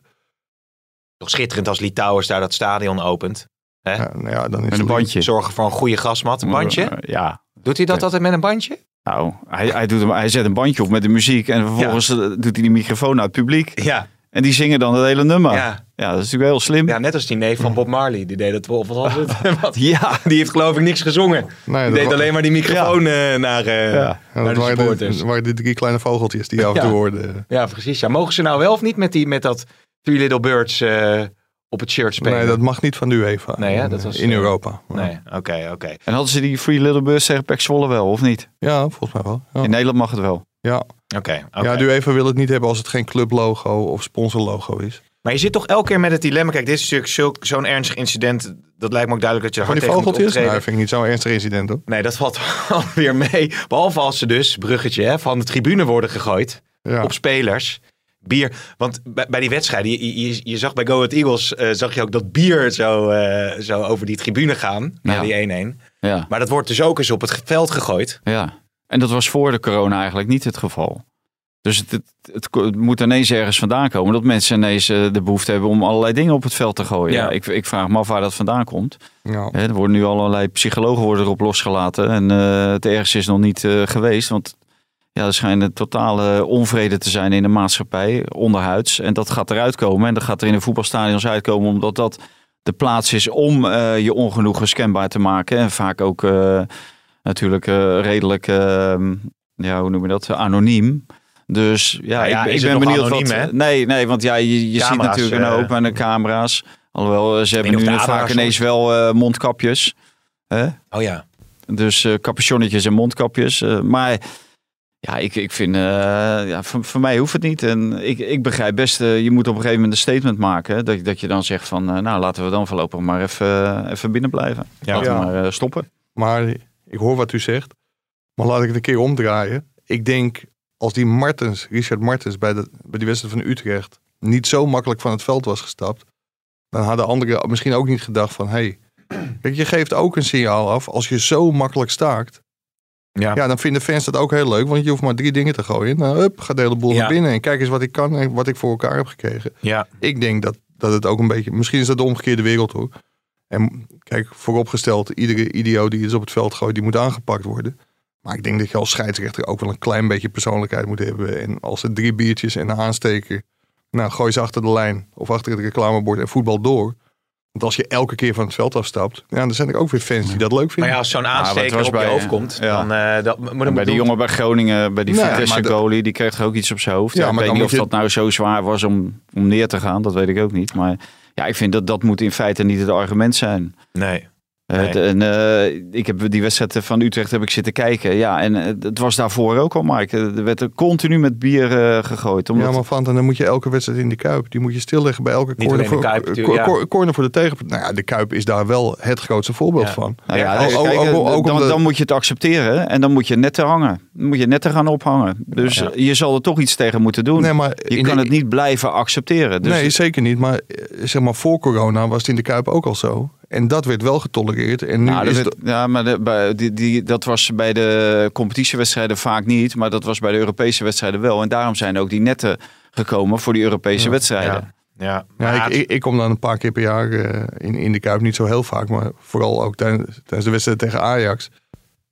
B: Toch schitterend als Litouwers daar dat stadion opent. Hè?
D: Ja, nou ja, dan is
C: Met een
D: het-
C: bandje.
B: Zorgen voor een goede grasmat. Een bandje?
C: eh, Ja,
B: Doet hij dat altijd met een bandje?
C: Nou, hij, hij, doet hem, hij zet een bandje op met de muziek en vervolgens eh, doet hij die microfoon naar het publiek.
B: Ja.
C: En die zingen dan het hele nummer. Ja,
B: Ja.
C: dat is natuurlijk heel slim.
B: ja,
C: Ja,
B: net als die neef van Bob Marley. Die deed dat wel. Wat was
D: *laughs*
B: het? Wat? Die heeft geloof ik niks gezongen.
D: Nee,
B: die
D: dat
B: deed
D: wa-
B: alleen maar die microfoon eh, naar, eh,
C: Ja,
D: Ja,
B: naar
D: dat
B: de
D: waren
B: supporters.
D: de, waren de drie kleine vogeltjes die af en toe
B: Ja.
D: hoorden. eh,
B: Ja, precies. Ja, mogen ze nou wel of niet met, die, met dat Three Little Birds eh, op het shirt spelen?
D: Nee, dat mag niet van de UEFA
B: Nee, hè,
D: in,
B: dat
D: eh,
B: was,
D: in
B: eh,
D: Europa.
B: Nee, oké, oké.
C: En hadden ze die Free Little Birds tegen Pek Zwolle wel, of niet?
D: Ja, volgens mij wel.
B: Oh.
D: Ja.
C: In Nederland mag het wel.
D: Ja.
B: Oké, oké.
D: Ja, de UEFA wil het niet hebben als het geen clublogo of sponsorlogo is.
B: Maar je zit toch elke keer met het dilemma. Kijk, dit is natuurlijk zulk- zo'n ernstig incident. Dat lijkt me ook duidelijk dat je er
D: Van
B: hard tegen
D: die
B: moet
D: vogeltjes? Nou,
B: optreden.
D: dat vind ik niet zo'n ernstig incident hoor.
B: Nee, dat valt *laughs* alweer mee. Behalve als ze dus, bruggetje, hè, van de tribune worden gegooid
D: Ja.
B: op spelers. Bier, want bij, bij die wedstrijden, je, je, je zag bij Go Ahead Eagles, eh, zag je ook dat bier zo, eh, zo over die tribune gaan, naar
C: Ja.
B: die 1-1.
C: Ja.
B: Maar dat wordt dus ook eens op het veld gegooid.
C: ja. En dat was voor de corona eigenlijk niet het geval. Dus het, het, het ko- het moet ineens ergens vandaan komen dat mensen ineens eh, de behoefte hebben om allerlei dingen op het veld te gooien.
B: Ja.
C: Ja. Ik, ik vraag me af waar dat vandaan komt.
D: Ja.
C: Hè, er worden nu allerlei psychologen worden erop losgelaten. En eh, het ergste is nog niet eh, geweest. Want ja, er schijnt een totale onvrede te zijn in de maatschappij, onderhuids. En dat gaat eruit komen. En dat gaat er in de voetbalstadions uitkomen. Omdat dat de plaats is om eh, je ongenoegen scanbaar te maken. En vaak ook eh, natuurlijk eh, redelijk, eh, ja, hoe noem je dat, anoniem. Dus ja,
B: Nou ja,
C: ik,
B: is het
C: ik ben
B: nog
C: benieuwd
B: anoniem,
C: wat...
B: hè?
C: Nee, nee, want ja, je, je ziet
B: Camera's,
C: natuurlijk een
B: eh,
C: hoop aan de camera's. Alhoewel, eh, ze hebben
B: of
C: nu
B: de
C: vaak
B: Abra's
C: ineens wel eh, mondkapjes. Hè?
B: Oh ja.
C: Dus eh capuchonnetjes en mondkapjes. eh, maar ja, ik, ik vind, eh, ja, voor, voor mij hoeft het niet. En ik, ik begrijp best, eh, je moet op een gegeven moment een statement maken. Hè, dat, dat je dan zegt van, eh, nou laten we dan voorlopig maar even, eh, even binnen blijven.
B: Ja.
C: Laten we
D: Ja.
C: maar eh, stoppen.
D: Maar ik hoor wat u zegt. Maar laat ik het een keer omdraaien. Ik denk als die Martens, Richard Martens bij, de, bij die wedstrijd van Utrecht niet zo makkelijk van het veld was gestapt. Dan hadden anderen misschien ook niet gedacht van hé. Hey, *clears throat* kijk, je geeft ook een signaal af als je zo makkelijk staakt.
B: Ja.
D: ja, dan vinden fans dat ook heel leuk. Want je hoeft maar drie dingen te gooien. Nou, hup, gaat de hele boel
B: Ja.
D: naar binnen. En kijk eens wat ik kan en wat ik voor elkaar heb gekregen.
B: Ja.
D: ik denk dat, dat het ook een beetje. Misschien is dat de omgekeerde wereld hoor. En kijk, vooropgesteld, iedere idioot die iets op het veld gooit, die moet aangepakt worden. Maar ik denk dat je als scheidsrechter ook wel een klein beetje persoonlijkheid moet hebben. En als er drie biertjes en een aansteker. Nou, gooi ze achter de lijn of achter het reclamebord en voetbal door. Want als je elke keer van het veld afstapt, ja, dan zijn er ook weer fans die dat leuk
B: Maar
D: vinden.
B: ja, als zo'n
C: maar het
B: aansteker
C: was
B: op je
C: bij,
B: hoofd
C: eh,
B: komt,
C: ja.
B: dan... eh, dat, maar dan
C: En bij die
B: bedoelt-
C: jongen bij Groningen, bij die
D: Nee,
C: Vitesse
D: maar dat-
C: goalie, die kreeg er ook iets op zijn hoofd.
D: Ja,
C: Ja, ik
D: maar
C: weet
D: dan
C: niet of
D: moet je-
C: dat nou zo zwaar was om, om neer te gaan, dat weet ik ook niet. Maar ja, ik vind dat dat moet in feite niet het argument zijn.
B: Nee.
C: Eh,
B: Nee.
C: de- en, eh, ik heb die wedstrijd van Utrecht heb ik zitten kijken. Ja, en eh, het was daarvoor ook al, Mike. Er werd er continu met bier eh, gegooid. Omdat,
D: Ja, maar Fanta, dan moet je elke wedstrijd in de Kuip. Die moet je stilleggen bij elke
B: Niet
D: corner
B: alleen
D: voor,
B: de Kuip,
D: eh,
B: natuurlijk,
D: cor-
B: ja.
D: corner voor de tegenpartij. Nou ja, de Kuip is daar wel het grootste voorbeeld
B: Ja.
D: van.
C: Nou ja,
B: Ja,
C: dus
D: ook-
C: kijk,
D: ook-
C: eh,
D: ook
C: dan,
D: omdat-
C: dan moet je het accepteren en dan moet je netten hangen. Dan moet je netten gaan ophangen. Dus
B: Ja.
C: je zal er toch iets tegen moeten doen.
D: Nee, maar
C: je
D: in
C: kan
D: de-
C: het niet blijven accepteren. Dus
D: nee, zeker niet. Maar eh, zeg maar, voor corona was het in de Kuip ook al zo. En dat werd wel getolereerd. En nu
C: Nou, dat
D: is
C: werd-
D: het-
C: ja, maar de- bij- die, die, dat was bij de competitiewedstrijden vaak niet. Maar dat was bij de Europese wedstrijden wel. En daarom zijn ook die netten gekomen voor die Europese wedstrijden.
B: Ja,
D: Ja,
B: Maar
D: ik, ik, ik kom dan een paar keer per jaar eh, in, in de Kuip. Niet zo heel vaak, maar vooral ook tijdens, tijdens de wedstrijd tegen Ajax.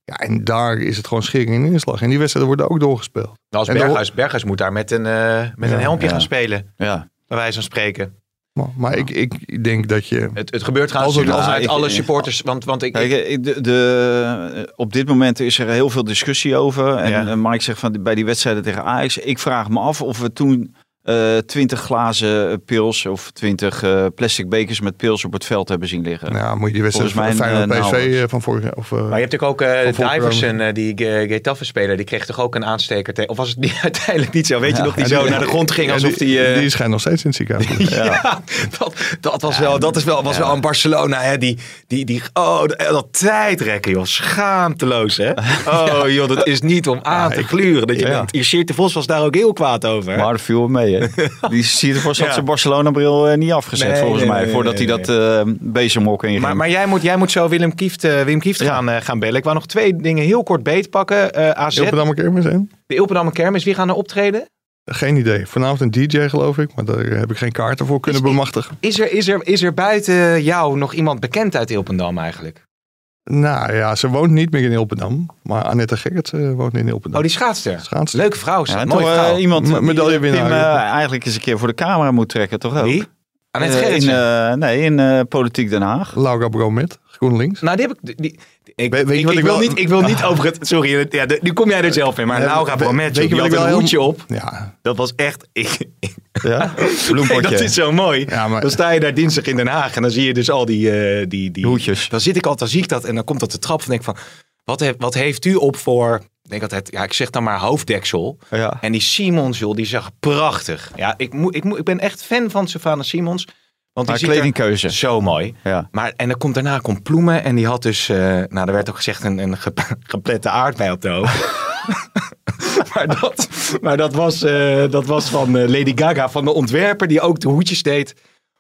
D: Ja, en daar is het gewoon schering en inslag. En die wedstrijden worden ook doorgespeeld.
B: als
D: en de ho-
B: Berghuis, Berghuis moet daar met een, eh, met
D: Ja,
B: een helmpje
C: ja.
B: gaan spelen,
C: Ja.
B: bij wijze van spreken.
D: Maar, maar ik, ik denk dat je...
B: Het, het gebeurt trouwens
D: Als het-
B: natuurlijk
C: als
B: uit
C: het-
B: alle
C: ja.
B: supporters, want, want ik,
C: Kijk, eh, de, de- eh, op dit moment is er heel veel discussie over. En
B: Ja.
C: eh, Mike zegt van bij die wedstrijden tegen Ajax. Ik vraag me af of we toen eh 20 glazen eh, pils of 20 eh, plastic bekers met pils op het veld hebben zien liggen.
D: Nou, moet je die wedstrijd
C: Volgens mij,
D: van Feyenoord
C: eh,
D: PSV
C: nauwelijks.
D: eh, van vorig jaar... Of, eh,
B: nou, Maar je hebt natuurlijk ook eh,
D: Van Volkeren.
B: Diverson, eh, die Ge- Getafe-speler, die kreeg toch ook een aansteker tegen. Of was het *laughs* niet, uiteindelijk niet zo? Weet je
C: Ja.
B: nog, die
D: ja,
B: zo
D: die-
B: naar de grond ging
D: ja,
B: alsof die... eh,
D: Die schijnt nog steeds in het
B: *laughs*
D: ziekenhuis.
B: ja, dat, dat was wel, dat is wel, was wel aan Barcelona, hè? Die, die, die, oh, dat, dat tijdrekken, joh. Schaamteloos, hè? Oh, joh, dat is niet om aan te gluren. Dat je
C: Ja.
B: denkt, hier Sjeerd de Vos was daar ook heel kwaad over. hè?
C: Maar dat viel wel mee, hè? *laughs* Die ziet ervoor had
B: Ja.
C: zijn Barcelona-bril eh, niet afgezet,
B: Nee,
C: volgens
B: nee,
C: mij.
B: nee,
C: voordat
B: nee,
C: hij dat eh bezemhok inging.
B: Maar, maar jij, moet, jij moet zo Willem Kieft, eh, Wim Kieft
C: Ja.
B: gaan, eh, gaan bellen. Ik wou nog twee dingen heel kort beetpakken. Eh AZ,
D: Zet... dan een keer maar zijn.
B: de Ilpendamme Kermis, wie gaan er optreden?
D: Geen idee. Vanavond een DJ geloof ik, maar daar eh, heb ik geen kaarten voor kunnen
B: Is-
D: bemachtigen.
B: Is er, is, er, is er buiten jou nog iemand bekend uit Ilpendam eigenlijk?
D: Nou ja, ze woont niet meer in Ilpendam, maar Annette Gerrit eh, woont in Ilpendam.
B: Oh, die schaatster.
D: Schaatsen.
B: Leuke vrouw. is
C: Ja,
B: dat.
C: en toch
B: Mooie
C: eh,
B: vrouw.
C: iemand
D: Me-
C: die, eh, Pim
D: medaillewinnaar.
C: eh, eigenlijk eens een keer voor de camera moet trekken, toch ook?
B: Wie? Annette
C: Eh,
B: Gerritsen.
C: in, eh, nee, in eh, Politiek Den Haag.
D: Laura Bromet, GroenLinks.
B: nou, die heb ik... Die, ik,
D: Weet- weet je
B: ik,
D: wat
B: ik
D: ik
B: wil
D: wel-
B: niet, ik wil niet over het... Sorry, ja, de- nu kom jij er zelf in. Maar
D: Eh,
B: Laura
D: we-
B: Bromet,
D: weet
B: joh,
D: je
B: die
D: wat
B: had
D: ik
B: een
D: wel
B: hoedje op.
D: Ja,
B: Dat was echt... Ik,
D: ja.
C: *laughs* Bloempotje.
B: dat is zo mooi.
D: Ja, maar-
B: Dan sta je daar dinsdag in Den Haag en dan zie je dus al die... eh, die, die
C: Hoedjes.
B: Dan zit ik altijd, dan zie ik dat en dan komt dat de trap van denk ik van... Wat, he- wat heeft u op voor... Ik Denk altijd, ja, ik zeg dan maar hoofddeksel.
C: Ja.
B: En die Simons, joh, die zag prachtig. Ja, ik, moet ik, moet ik ben echt fan van Savannah Simons. Want die
C: Maar
B: ziet er-
C: kledingkeuze.
B: Zo mooi.
C: Ja.
B: Maar, en dan komt, daarna komt Ploemen en die had dus, eh, nou er werd ook gezegd, een, een gep- *laughs* geplette aardbei op de hoofd. *laughs* maar dat, maar dat, was, eh, dat was van eh, Lady Gaga, van de ontwerper die ook de hoedjes deed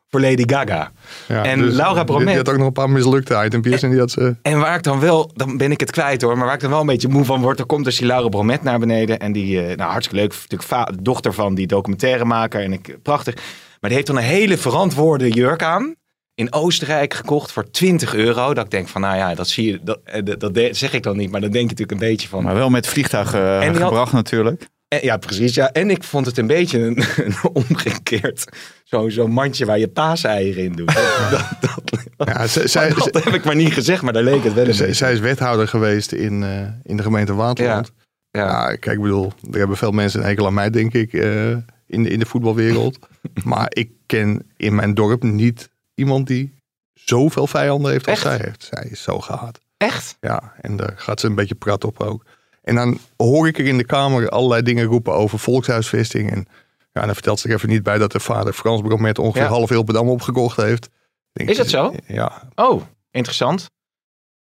B: voor Lady Gaga.
D: Ja,
B: en
D: dus
B: Laura
D: die- Die had
B: Bromet.
D: ook nog een paar mislukte
B: *laughs*
D: itempjes en die had ze...
B: En waar ik dan wel, dan ben ik het kwijt hoor, maar waar ik dan wel een beetje moe van word, dan komt dus die Laura Bromet naar beneden. En die, eh, nou hartstikke leuk, natuurlijk va- dochter van die documentairemaker en ik, eh, prachtig. Maar die heeft dan een hele verantwoorde jurk aan. In Oostenrijk gekocht voor 20 euro. Dat ik denk van, nou ja, dat zie je, dat, eh, dat, dat de- zeg ik dan niet, maar dan denk je natuurlijk een beetje van.
C: Maar wel met vliegtuig eh,
B: En die had-
C: gebracht natuurlijk.
B: Eh, ja, precies. Ja. En ik vond het een beetje een, *laughs* een omgekeerd, zo'n zo mandje waar je paaseieren in doet. Dat, dat,
D: Ja, ze- zij,
B: dat heb ik maar niet gezegd, maar daar leek het wel een
D: zij,
B: beetje.
D: zij is wethouder geweest in, eh, in de gemeente Waterland.
B: Ja.
D: Ja, kijk, ik bedoel, er hebben veel mensen een hekel aan mij, denk ik, eh, in, de, in de
B: *laughs*
D: voetbalwereld. maar ik ken in mijn dorp niet iemand die zoveel vijanden heeft als
B: Echt?
D: zij heeft. Zij is zo gehaat.
B: Echt?
D: Ja, en daar gaat ze een beetje prat op ook. En dan hoor ik er in de Kamer allerlei dingen roepen over volkshuisvesting. En ja, dan vertelt ze er even niet bij dat de vader Frans Bromet ongeveer
B: Ja.
D: half Hilpendam opgekocht heeft. Denk
B: Is
D: je,
B: dat zo?
D: Ja.
B: Oh, interessant.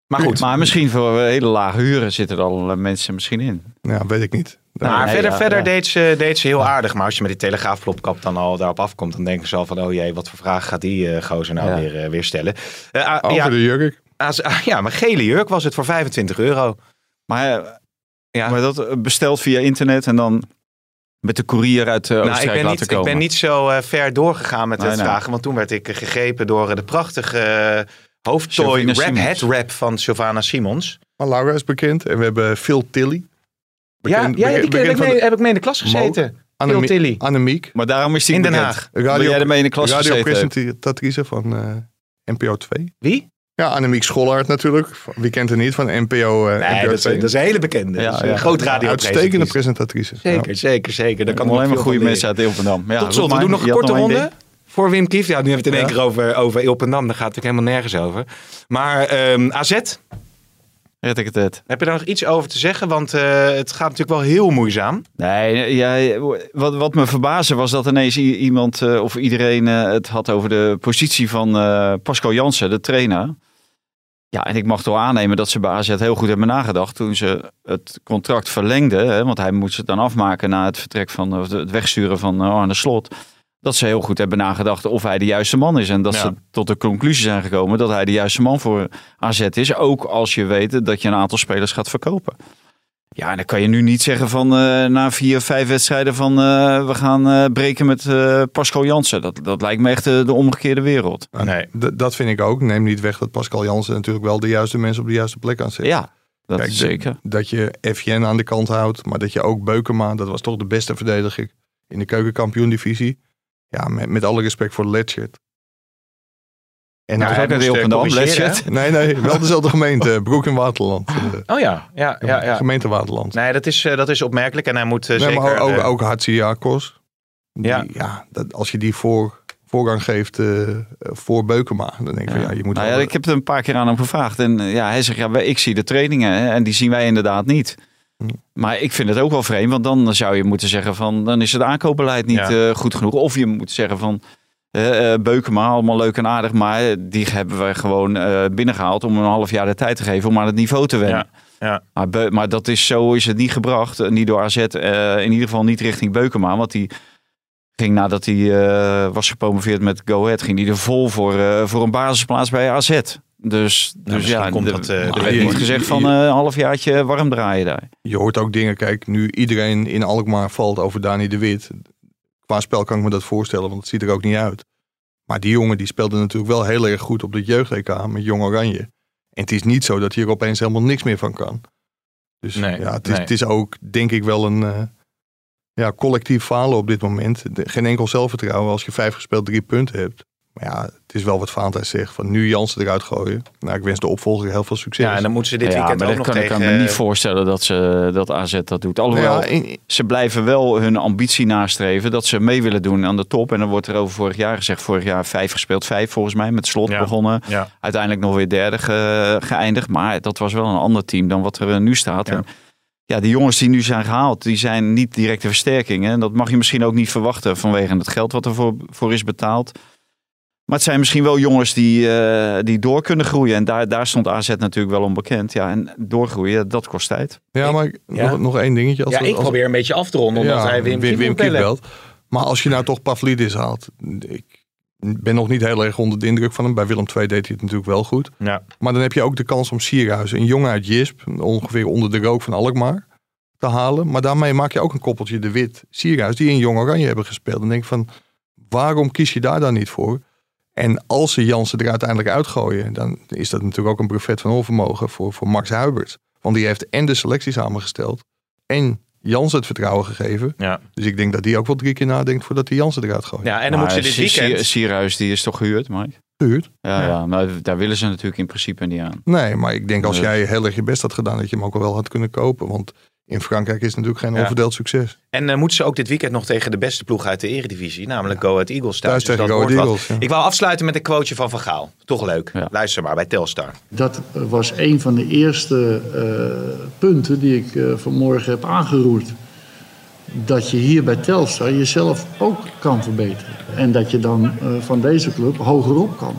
B: Maar goed,
C: Maar misschien voor eh, hele lage huren zitten er al eh, mensen misschien in.
D: ja, weet ik niet.
B: maar
C: nee,
B: verder,
C: ja,
B: verder
C: ja.
B: Deed, ze, deed ze heel aardig. Maar als je met die telegraafplopkap dan al daarop afkomt, dan denken ze al van, oh jee, wat voor vraag gaat die eh, gozer nou
C: Ja.
B: weer, eh, weer stellen. Eh, ah,
D: Over
B: ja,
D: de jurk.
B: ah, ah, ja, maar gele jurk was het voor 25 euro.
C: Maar, eh,
B: Ja.
C: maar dat eh, besteld via internet en dan met de courier uit eh
B: nou, ik
C: Oostenrijk
B: ben,
C: laten
B: niet, ik
C: komen.
B: ben niet zo eh, ver doorgegaan met
C: Nee,
B: het
C: nee.
B: vragen, want toen werd ik eh, gegrepen door eh, de prachtige eh, hoofdtooi
C: Sylvana
B: rap,
C: Simons.
B: headrap van Sylvana Simons.
D: Maar Laura is bekend. En we hebben Phil Tilly. Bekend-
B: ja, ja, die keer heb
D: bekend- bekend
B: ik,
D: van
B: mee,
D: de-
B: heb ik mee in de klas gezeten. Phil
D: Annemie-
B: Tilly.
D: Annemiek.
C: Maar daarom is hij
B: In Den
C: bekend.
B: Haag.
C: Ben jij ermee in de klas gezeten hebt.
D: radiopresentatrice van eh, NPO 2.
B: Wie?
D: Ja, Annemiek Schollaert natuurlijk. Van- Wie kent er niet van NPO, eh
B: Nee,
D: NPO
B: dat is,
D: 2?
B: dat is een hele bekende.
C: Ja,
B: Dat is een
C: ja.
B: groot radio.
D: Uitstekende presentatrice.
B: Zeker, zeker, zeker. Daar kan
C: Alleen
B: nog
C: maar
B: veel
C: goede
B: van
C: mensen uit Hilverdam. Ja,
B: leren. Tot slot, we
C: Rob,
B: doen nog
C: je
B: een
C: had
B: korte
C: één
B: ronde.
C: ding.
B: Voor Wim Kieft. Ja, nu hebben we het in één keer over, over Ilpendam. Daar gaat natuurlijk helemaal nergens over. Maar ehm, AZ,
C: Red ik het net.
B: heb je daar nog iets over te zeggen? Want eh, het gaat natuurlijk wel heel moeizaam.
C: Nee, ja, eh, wat, wat me verbaasde was dat ineens i- iemand eh, of iedereen eh, het had over de positie van eh Pascal Jansen, de trainer. Ja, en ik mag toch aannemen dat ze bij AZ heel goed hebben nagedacht toen ze het contract verlengden. Hè, want hij moest het dan afmaken na het vertrek van of het wegsturen van eh, Arne Slot. Dat ze heel goed hebben nagedacht of hij de juiste man is. En dat
B: Ja.
C: ze tot de conclusie zijn gekomen dat hij de juiste man voor AZ is. Ook als je weet dat je een aantal spelers gaat verkopen. Ja, dan kan je nu niet zeggen van eh, na vier, vijf wedstrijden van eh, we gaan eh, breken met eh, Pascal Jansen. Dat, dat lijkt me echt eh, de omgekeerde wereld.
B: Nee.
D: D- dat vind ik ook. Neem niet weg dat Pascal Jansen natuurlijk wel de juiste mensen op de juiste plek aan zet.
C: Ja, dat
D: Kijk,
C: is
D: de-
C: zeker.
D: Dat je FJN aan de kant houdt, maar dat je ook Beukema, dat was toch de beste verdediger in de keukenkampioen-divisie. Ja, met, met alle respect voor Letchert. En
C: Nou,
D: hij-
C: hij moest, eh, corrigeren, hè?
B: *laughs*
D: Nee, nee, wel dezelfde gemeente, Broek in Waterland. Eh,
B: Oh ja, ja, ja, ja.
D: Gemeente Waterland.
B: Nee, dat is, eh, dat is opmerkelijk. En hij moet eh,
D: nee,
B: zeker...
D: maar ook,
B: eh,
D: ook Hatsiakos. Die-
B: Ja.
D: Ja, dat, als je die voor, voorrang geeft eh, eh, voor Beukema, dan denk ik van ja, je moet...
C: nou ja,
D: wel-
C: ik heb het een paar keer aan hem gevraagd. En eh, ja, hij zegt, ja, wij- ik zie de trainingen hè, en die zien wij inderdaad niet. Maar ik vind het ook wel vreemd, want dan zou je moeten zeggen van... dan is het aankoopbeleid niet
B: Ja.
C: eh, goed genoeg. Of je moet zeggen van, eh eh, Beukema, allemaal leuk en aardig... maar die hebben we gewoon eh, binnengehaald om een half jaar de tijd te geven... om aan het niveau te wennen.
B: Ja, ja.
C: Maar, Beu- maar dat is, zo is het niet gebracht. eh, Niet door AZ, eh, in ieder geval niet richting Beukema. Want die ging nadat hij eh, was gepromoveerd met Go Ahead... ging hij er vol voor, eh, voor een basisplaats bij AZ. Dus, dus
B: misschien
C: ja,
B: komt
C: de-
B: dat, eh,
C: er
B: de
C: werd
D: wet
C: niet
D: niet.
C: gezegd van eh, een halfjaartje warm draaien daar.
D: Je hoort ook dingen, kijk, nu iedereen in Alkmaar valt over Dani de Wit. Qua spel kan ik me dat voorstellen, want het ziet er ook niet uit. Maar die jongen die speelde natuurlijk wel heel erg goed op dit jeugd-EK met Jong Oranje. En het is niet zo dat hij er opeens helemaal niks meer van kan. Dus
B: Nee,
D: ja, het is,
B: nee.
D: het is ook denk ik wel een eh, ja, collectief falen op dit moment. De- geen enkel zelfvertrouwen als je vijf gespeeld drie punten hebt. Maar ja, het is wel wat Vaantij zegt, van nu Jansen eruit gooien. Nou, ik wens de opvolger heel veel succes.
B: ja, en dan moeten ze dit
C: ja,
B: weekend
C: maar
B: ook
C: dat
B: nog
C: kan, ik
B: tegen... eh,
C: kan me niet voorstellen dat, ze, dat AZ dat doet.
D: Nou
C: Alhoewel,
D: ja, in-
C: ze blijven wel hun ambitie nastreven dat ze mee willen doen aan de top. En dan wordt er over vorig jaar gezegd, vorig jaar vijf gespeeld, vijf volgens mij, met slot
B: Ja.
C: begonnen.
B: Ja.
C: Uiteindelijk nog weer derde ge- geëindigd. Maar dat was wel een ander team dan wat er eh, nu staat.
B: Ja.
C: En ja, die jongens die nu zijn gehaald, die zijn niet directe versterkingen. En dat mag je misschien ook niet verwachten vanwege het geld wat ervoor voor is betaald. Maar het zijn misschien wel jongens die, eh, die door kunnen groeien. En daar, daar stond AZ natuurlijk wel onbekend. Ja, en doorgroeien, dat kost tijd.
D: Ja, maar ik-
B: ja.
D: Nog, nog één dingetje. Als
B: Ja,
D: we-
B: ik
D: als-
B: probeer een beetje af te ronden, omdat
D: ja,
B: hij Wim, Kiep moet
D: Kiep
B: bellen.
D: belt. Maar als je nou toch Pavlidis haalt. Ik ben nog niet heel erg onder de indruk van hem. Bij Willem II deed hij het natuurlijk wel goed.
B: Ja.
D: Maar dan heb je ook de kans om Sierhuis, een jongen uit Jisp, ongeveer onder de rook van Alkmaar, te halen. Maar daarmee maak je ook een koppeltje de wit. Sierhuis, die in Jong Oranje hebben gespeeld. Dan denk ik van, waarom kies je daar dan niet voor? En als ze Jansen er uiteindelijk uitgooien, dan is dat natuurlijk ook een brevet van onvermogen voor, voor Max Huibert. Want die heeft en de selectie samengesteld en Jansen het vertrouwen gegeven.
B: Ja.
D: Dus ik denk dat die ook wel drie keer nadenkt voordat hij Jansen eruit gooit.
B: ja, en dan
C: Maar
B: moeten ze dit
C: Sier-
B: weekend...
C: Sierhuis, die is toch gehuurd, Mike?
D: Gehuurd?
C: Ja, ja. maar daar willen ze natuurlijk in principe niet aan.
D: Nee, maar ik denk als
C: Nee.
D: jij heel erg je best had gedaan, dat je hem ook wel had kunnen kopen. Want in Frankrijk is het natuurlijk geen
B: Ja.
D: onverdeeld succes.
B: En eh, moeten ze ook dit weekend nog tegen de beste ploeg uit de eredivisie, namelijk Go Ahead Eagles thuis.
D: Thuis
B: Dus
D: tegen
B: dat
D: Go Ahead
B: wordt
D: Eagles,
B: wat.
D: ja.
B: Ik wou afsluiten met een quoteje van Van Gaal. Toch leuk.
C: Ja.
B: Luister maar bij Telstar.
I: Dat was een van de eerste eh, punten die ik eh, vanmorgen heb aangeroerd. Dat je hier bij Telstar jezelf ook kan verbeteren. En dat je dan eh, van deze club hogerop kan.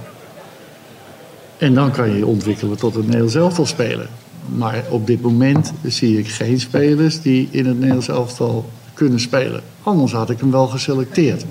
I: En dan kan je je ontwikkelen tot het Nederlands elftal spelen. Maar op dit moment zie ik geen spelers die in het Nederlands elftal kunnen spelen. Anders had ik hem wel geselecteerd.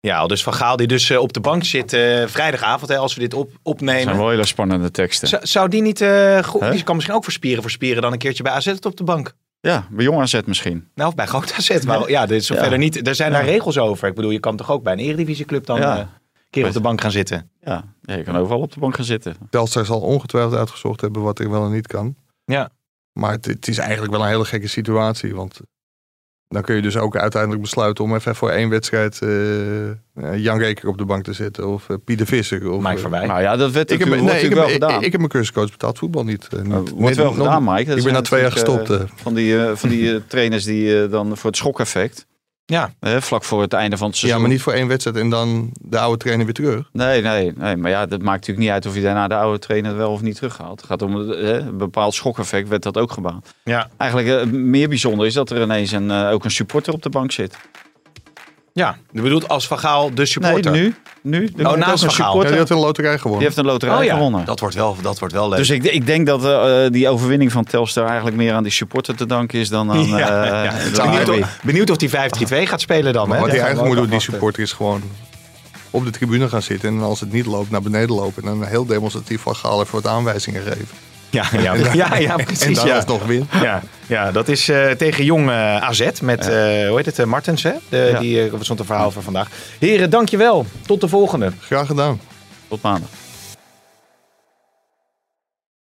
B: Ja, dus Van Gaal die dus eh, op de bank zit eh, vrijdagavond, hè, als we dit op,
C: Dat zijn
B: opnemen.
C: wel hele spannende teksten.
B: Zou, zou die niet... eh, go-
C: Hè?
B: die kan misschien ook voor spieren voor spieren dan een keertje bij AZ op de bank.
C: Ja, bij Jong AZ misschien.
B: Nou, of bij Groot AZ. Maar ja, dit is zo
C: Ja.
B: verder niet, er zijn daar regels over. Ik bedoel, je kan toch ook bij een eredivisieclub dan
C: Ja.
B: eh, een keer op de bank gaan zitten.
C: Ja. ja, je kan overal op de bank gaan zitten.
D: Telstar zal ongetwijfeld uitgezocht hebben wat er wel en niet kan.
B: Ja.
D: Maar het, het is eigenlijk wel een hele gekke situatie. Want dan kun je dus ook uiteindelijk besluiten om even voor één wedstrijd eh, eh, Jan Reker op de bank te zetten. Of eh, Pieter Visser. Of,
B: Mike
D: eh,
B: Verwij.
C: Nou ja, dat werd
D: Ik heb,
C: natuurlijk,
D: nee, ik,
C: wordt
D: heb,
C: natuurlijk
D: ik,
C: wel gedaan.
D: ik heb mijn cursuscoach betaald voetbal niet. eh,
C: Nou,
D: niet-
C: wordt wel
D: niet- nog-
C: gedaan, Mike. Dat
D: ik ben
C: zijn
D: na twee jaar
C: natuurlijk,
D: gestopt.
C: eh,
D: eh.
C: van die, eh, van die eh, trainers die eh, dan voor het schokeffect,
B: ja.
C: hè, vlak voor het einde van het seizoen.
D: ja, maar niet voor één wedstrijd en dan de oude trainer weer terug.
C: Nee, nee, nee. Maar ja, dat maakt natuurlijk niet uit of je daarna de oude trainer wel of niet terughaalt. Het gaat om eh, een bepaald schokeffect, werd dat ook gedaan.
B: Ja.
C: Eigenlijk eh, meer bijzonder is dat er ineens een, eh, ook een supporter op de bank zit.
B: ja, je bedoelt als Van Gaal de supporter.
C: Nee, nu. nu er
B: Oh,
C: zit
B: naast
C: ook
B: Van
C: een
B: Gaal.
D: Ja,
C: supporter.
D: die had een loterij gewonnen.
C: Die heeft een loterij
B: oh, ja.
C: gewonnen.
B: Dat wordt wel, dat wordt wel leuk.
C: Dus ik, ik denk dat eh, eh, die overwinning van Telstar eigenlijk meer aan die supporter te danken is dan aan
B: *laughs*
C: eh
B: Ja, ja.
C: de
B: Benieuwd,
C: derby.
B: of, benieuwd of die 5-3-2 gaat spelen dan. Hè?
D: Maar wat hij
B: Ja.
D: eigenlijk moet doen, die
B: eh,
D: supporter, is gewoon op de tribune gaan zitten. En als het niet loopt, naar beneden lopen. En dan heel demonstratief van Gaal even wat aanwijzingen geven.
B: Ja, ja, ja, ja,
D: en
B: precies.
D: daar
B: Ja.
D: alsnog win.
B: Ja, ja, dat is eh, tegen jong eh, AZ met, eh, hoe heet het, eh, Martens, hè? De,
C: Ja.
B: Die eh, stond een verhaal voor vandaag. Heren, dankjewel. Tot de volgende.
D: Graag gedaan.
C: Tot maandag.